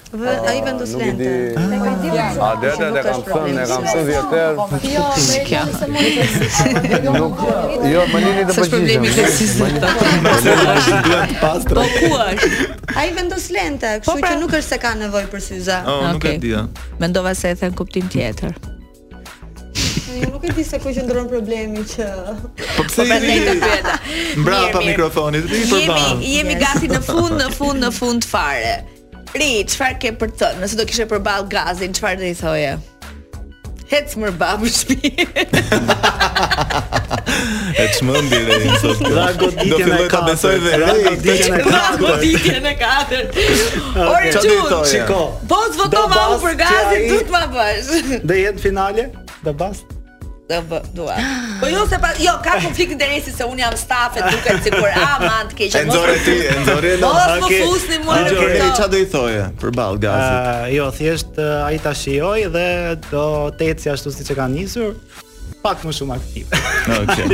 [SPEAKER 4] Vë- ai vendos
[SPEAKER 7] nuk i
[SPEAKER 4] lente.
[SPEAKER 7] di.
[SPEAKER 9] Ne ka diu shumë.
[SPEAKER 7] A dete e kam thënë, e kam thënë vjetër.
[SPEAKER 9] Jo, me kjo se mund të
[SPEAKER 7] Nuk, jo, më lini të
[SPEAKER 1] S'është problemi klasizëm.
[SPEAKER 7] Më lini-
[SPEAKER 2] Duhet të pastër.
[SPEAKER 1] Po ku është?
[SPEAKER 4] Ai vendos lente, kështu
[SPEAKER 1] Po, pra.
[SPEAKER 4] që nuk është se ka nevojë për syze.
[SPEAKER 2] Oh, nuk e
[SPEAKER 1] Okej.
[SPEAKER 2] dia.
[SPEAKER 1] Mendova se e thën kuptim tjetër.
[SPEAKER 4] Unë nuk e di se ku qëndron problemi që
[SPEAKER 2] Po pse
[SPEAKER 1] Po prandaj të
[SPEAKER 2] i
[SPEAKER 1] pyeta.
[SPEAKER 2] mbrapa
[SPEAKER 1] Mirë, mirë.
[SPEAKER 2] mikrofonit? Ti përban.
[SPEAKER 1] Jemi jemi gati në fund, në fund, në fund fare. Ri, çfarë ke për të thënë? Nëse do kishe përball gazin, çfarë do i thoje? Hec mër babë shtëpi.
[SPEAKER 2] E çmendi dhe i sot. kjo.
[SPEAKER 3] Dha goditjen
[SPEAKER 2] Do
[SPEAKER 3] e
[SPEAKER 2] filloj ta
[SPEAKER 3] katërt.
[SPEAKER 2] besoj dhe
[SPEAKER 3] Dha
[SPEAKER 2] re
[SPEAKER 3] goditjen e
[SPEAKER 1] Dha
[SPEAKER 3] katërt.
[SPEAKER 1] goditje në katër. Orë
[SPEAKER 2] Çfarë do i
[SPEAKER 1] çun.
[SPEAKER 2] thoje?
[SPEAKER 3] Shiko.
[SPEAKER 1] Po të votova
[SPEAKER 3] Do
[SPEAKER 1] unë për
[SPEAKER 3] bas që
[SPEAKER 1] gazin,
[SPEAKER 3] ai-
[SPEAKER 1] du të ma bësh.
[SPEAKER 3] Do jetë finale? Do bas?
[SPEAKER 1] Do bë, dua. Po jo se pa, jo, ka konflikt interesi se unë jam staf e duket sikur aman të keqë.
[SPEAKER 2] E nxore ti, e nxore
[SPEAKER 1] Mos më
[SPEAKER 3] Okej.
[SPEAKER 1] fusni mua në
[SPEAKER 2] Nxore,
[SPEAKER 1] këto.
[SPEAKER 2] çfarë do i thoje përball gazit?
[SPEAKER 3] Ë, jo, thjesht uh, ai ta shijoj dhe do të eci ashtu siç e ka nisur, pak më shumë aktiv.
[SPEAKER 2] Okej.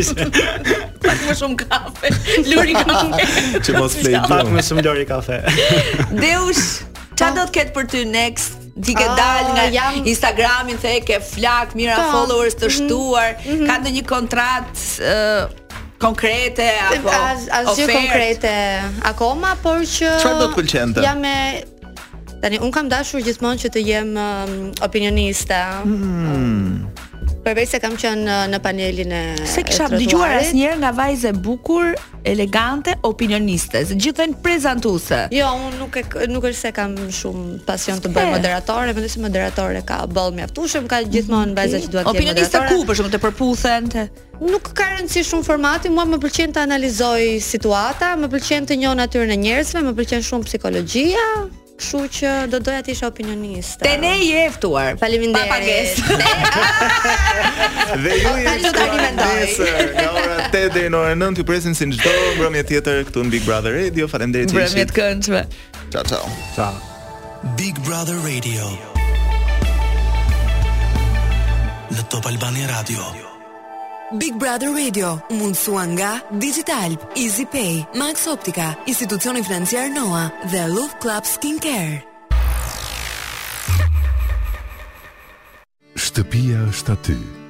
[SPEAKER 1] Pak më shumë kafe. Luri ka më.
[SPEAKER 2] Që mos flej
[SPEAKER 3] pak
[SPEAKER 2] gjumë.
[SPEAKER 3] më shumë lori kafe.
[SPEAKER 1] Deush, çfarë do të ketë për ty next? Ti ke
[SPEAKER 4] Ah,
[SPEAKER 1] dal nga
[SPEAKER 4] jam-
[SPEAKER 1] Instagramin, the ke flak, mira
[SPEAKER 4] Po,
[SPEAKER 1] followers të shtuar, ka ndonjë kontratë ë, konkrete apo
[SPEAKER 4] as asgjë
[SPEAKER 1] ofertë?
[SPEAKER 4] konkrete akoma, por që
[SPEAKER 2] Çfarë do të pëlqente?
[SPEAKER 4] Jam e Tani un kam dashur gjithmonë që të jem um, opinioniste. Mm. Përveç se kam qenë uh, në panelin e
[SPEAKER 1] Se kisha
[SPEAKER 4] e trotuarit.
[SPEAKER 1] dëgjuar asnjëherë nga vajze e bukur, elegante, opinioniste, se gjithë thënë prezantuese.
[SPEAKER 4] Jo, unë nuk e k- nuk është se kam shumë pasion të
[SPEAKER 1] E.
[SPEAKER 4] bëj moderatore, mendoj se moderatore ka boll mjaftueshëm, ka gjithmonë vajza që duhet të jenë
[SPEAKER 1] Opinioniste
[SPEAKER 4] moderatore.
[SPEAKER 1] ku për shkak të përputhen të
[SPEAKER 4] Nuk ka rëndësi shumë formati, mua më pëlqen të analizoj situata, më pëlqen të njoh natyrën e njerëzve, më pëlqen shumë psikologjia, kështu që do doja të isha opinioniste.
[SPEAKER 1] Te ne je e ftuar.
[SPEAKER 4] Faleminderit.
[SPEAKER 1] Pa pagesë.
[SPEAKER 2] Dhe ju
[SPEAKER 4] Tani do ta alimentoj.
[SPEAKER 2] nesër nga ora 8 deri në orën 9 ju presim si çdo mbrëmje tjetër këtu në Big Brother Radio. Faleminderit që
[SPEAKER 1] Mbrëmje
[SPEAKER 2] ishit.
[SPEAKER 1] të këndshme.
[SPEAKER 2] Ciao ciao.
[SPEAKER 10] Big Brother Radio Në Top Albania Radio
[SPEAKER 11] Big Brother Radio mundësua nga Digital, Easy Pay, Max Optica, institucioni financiar Noa dhe Love Club Skincare.
[SPEAKER 10] Shtëpia është aty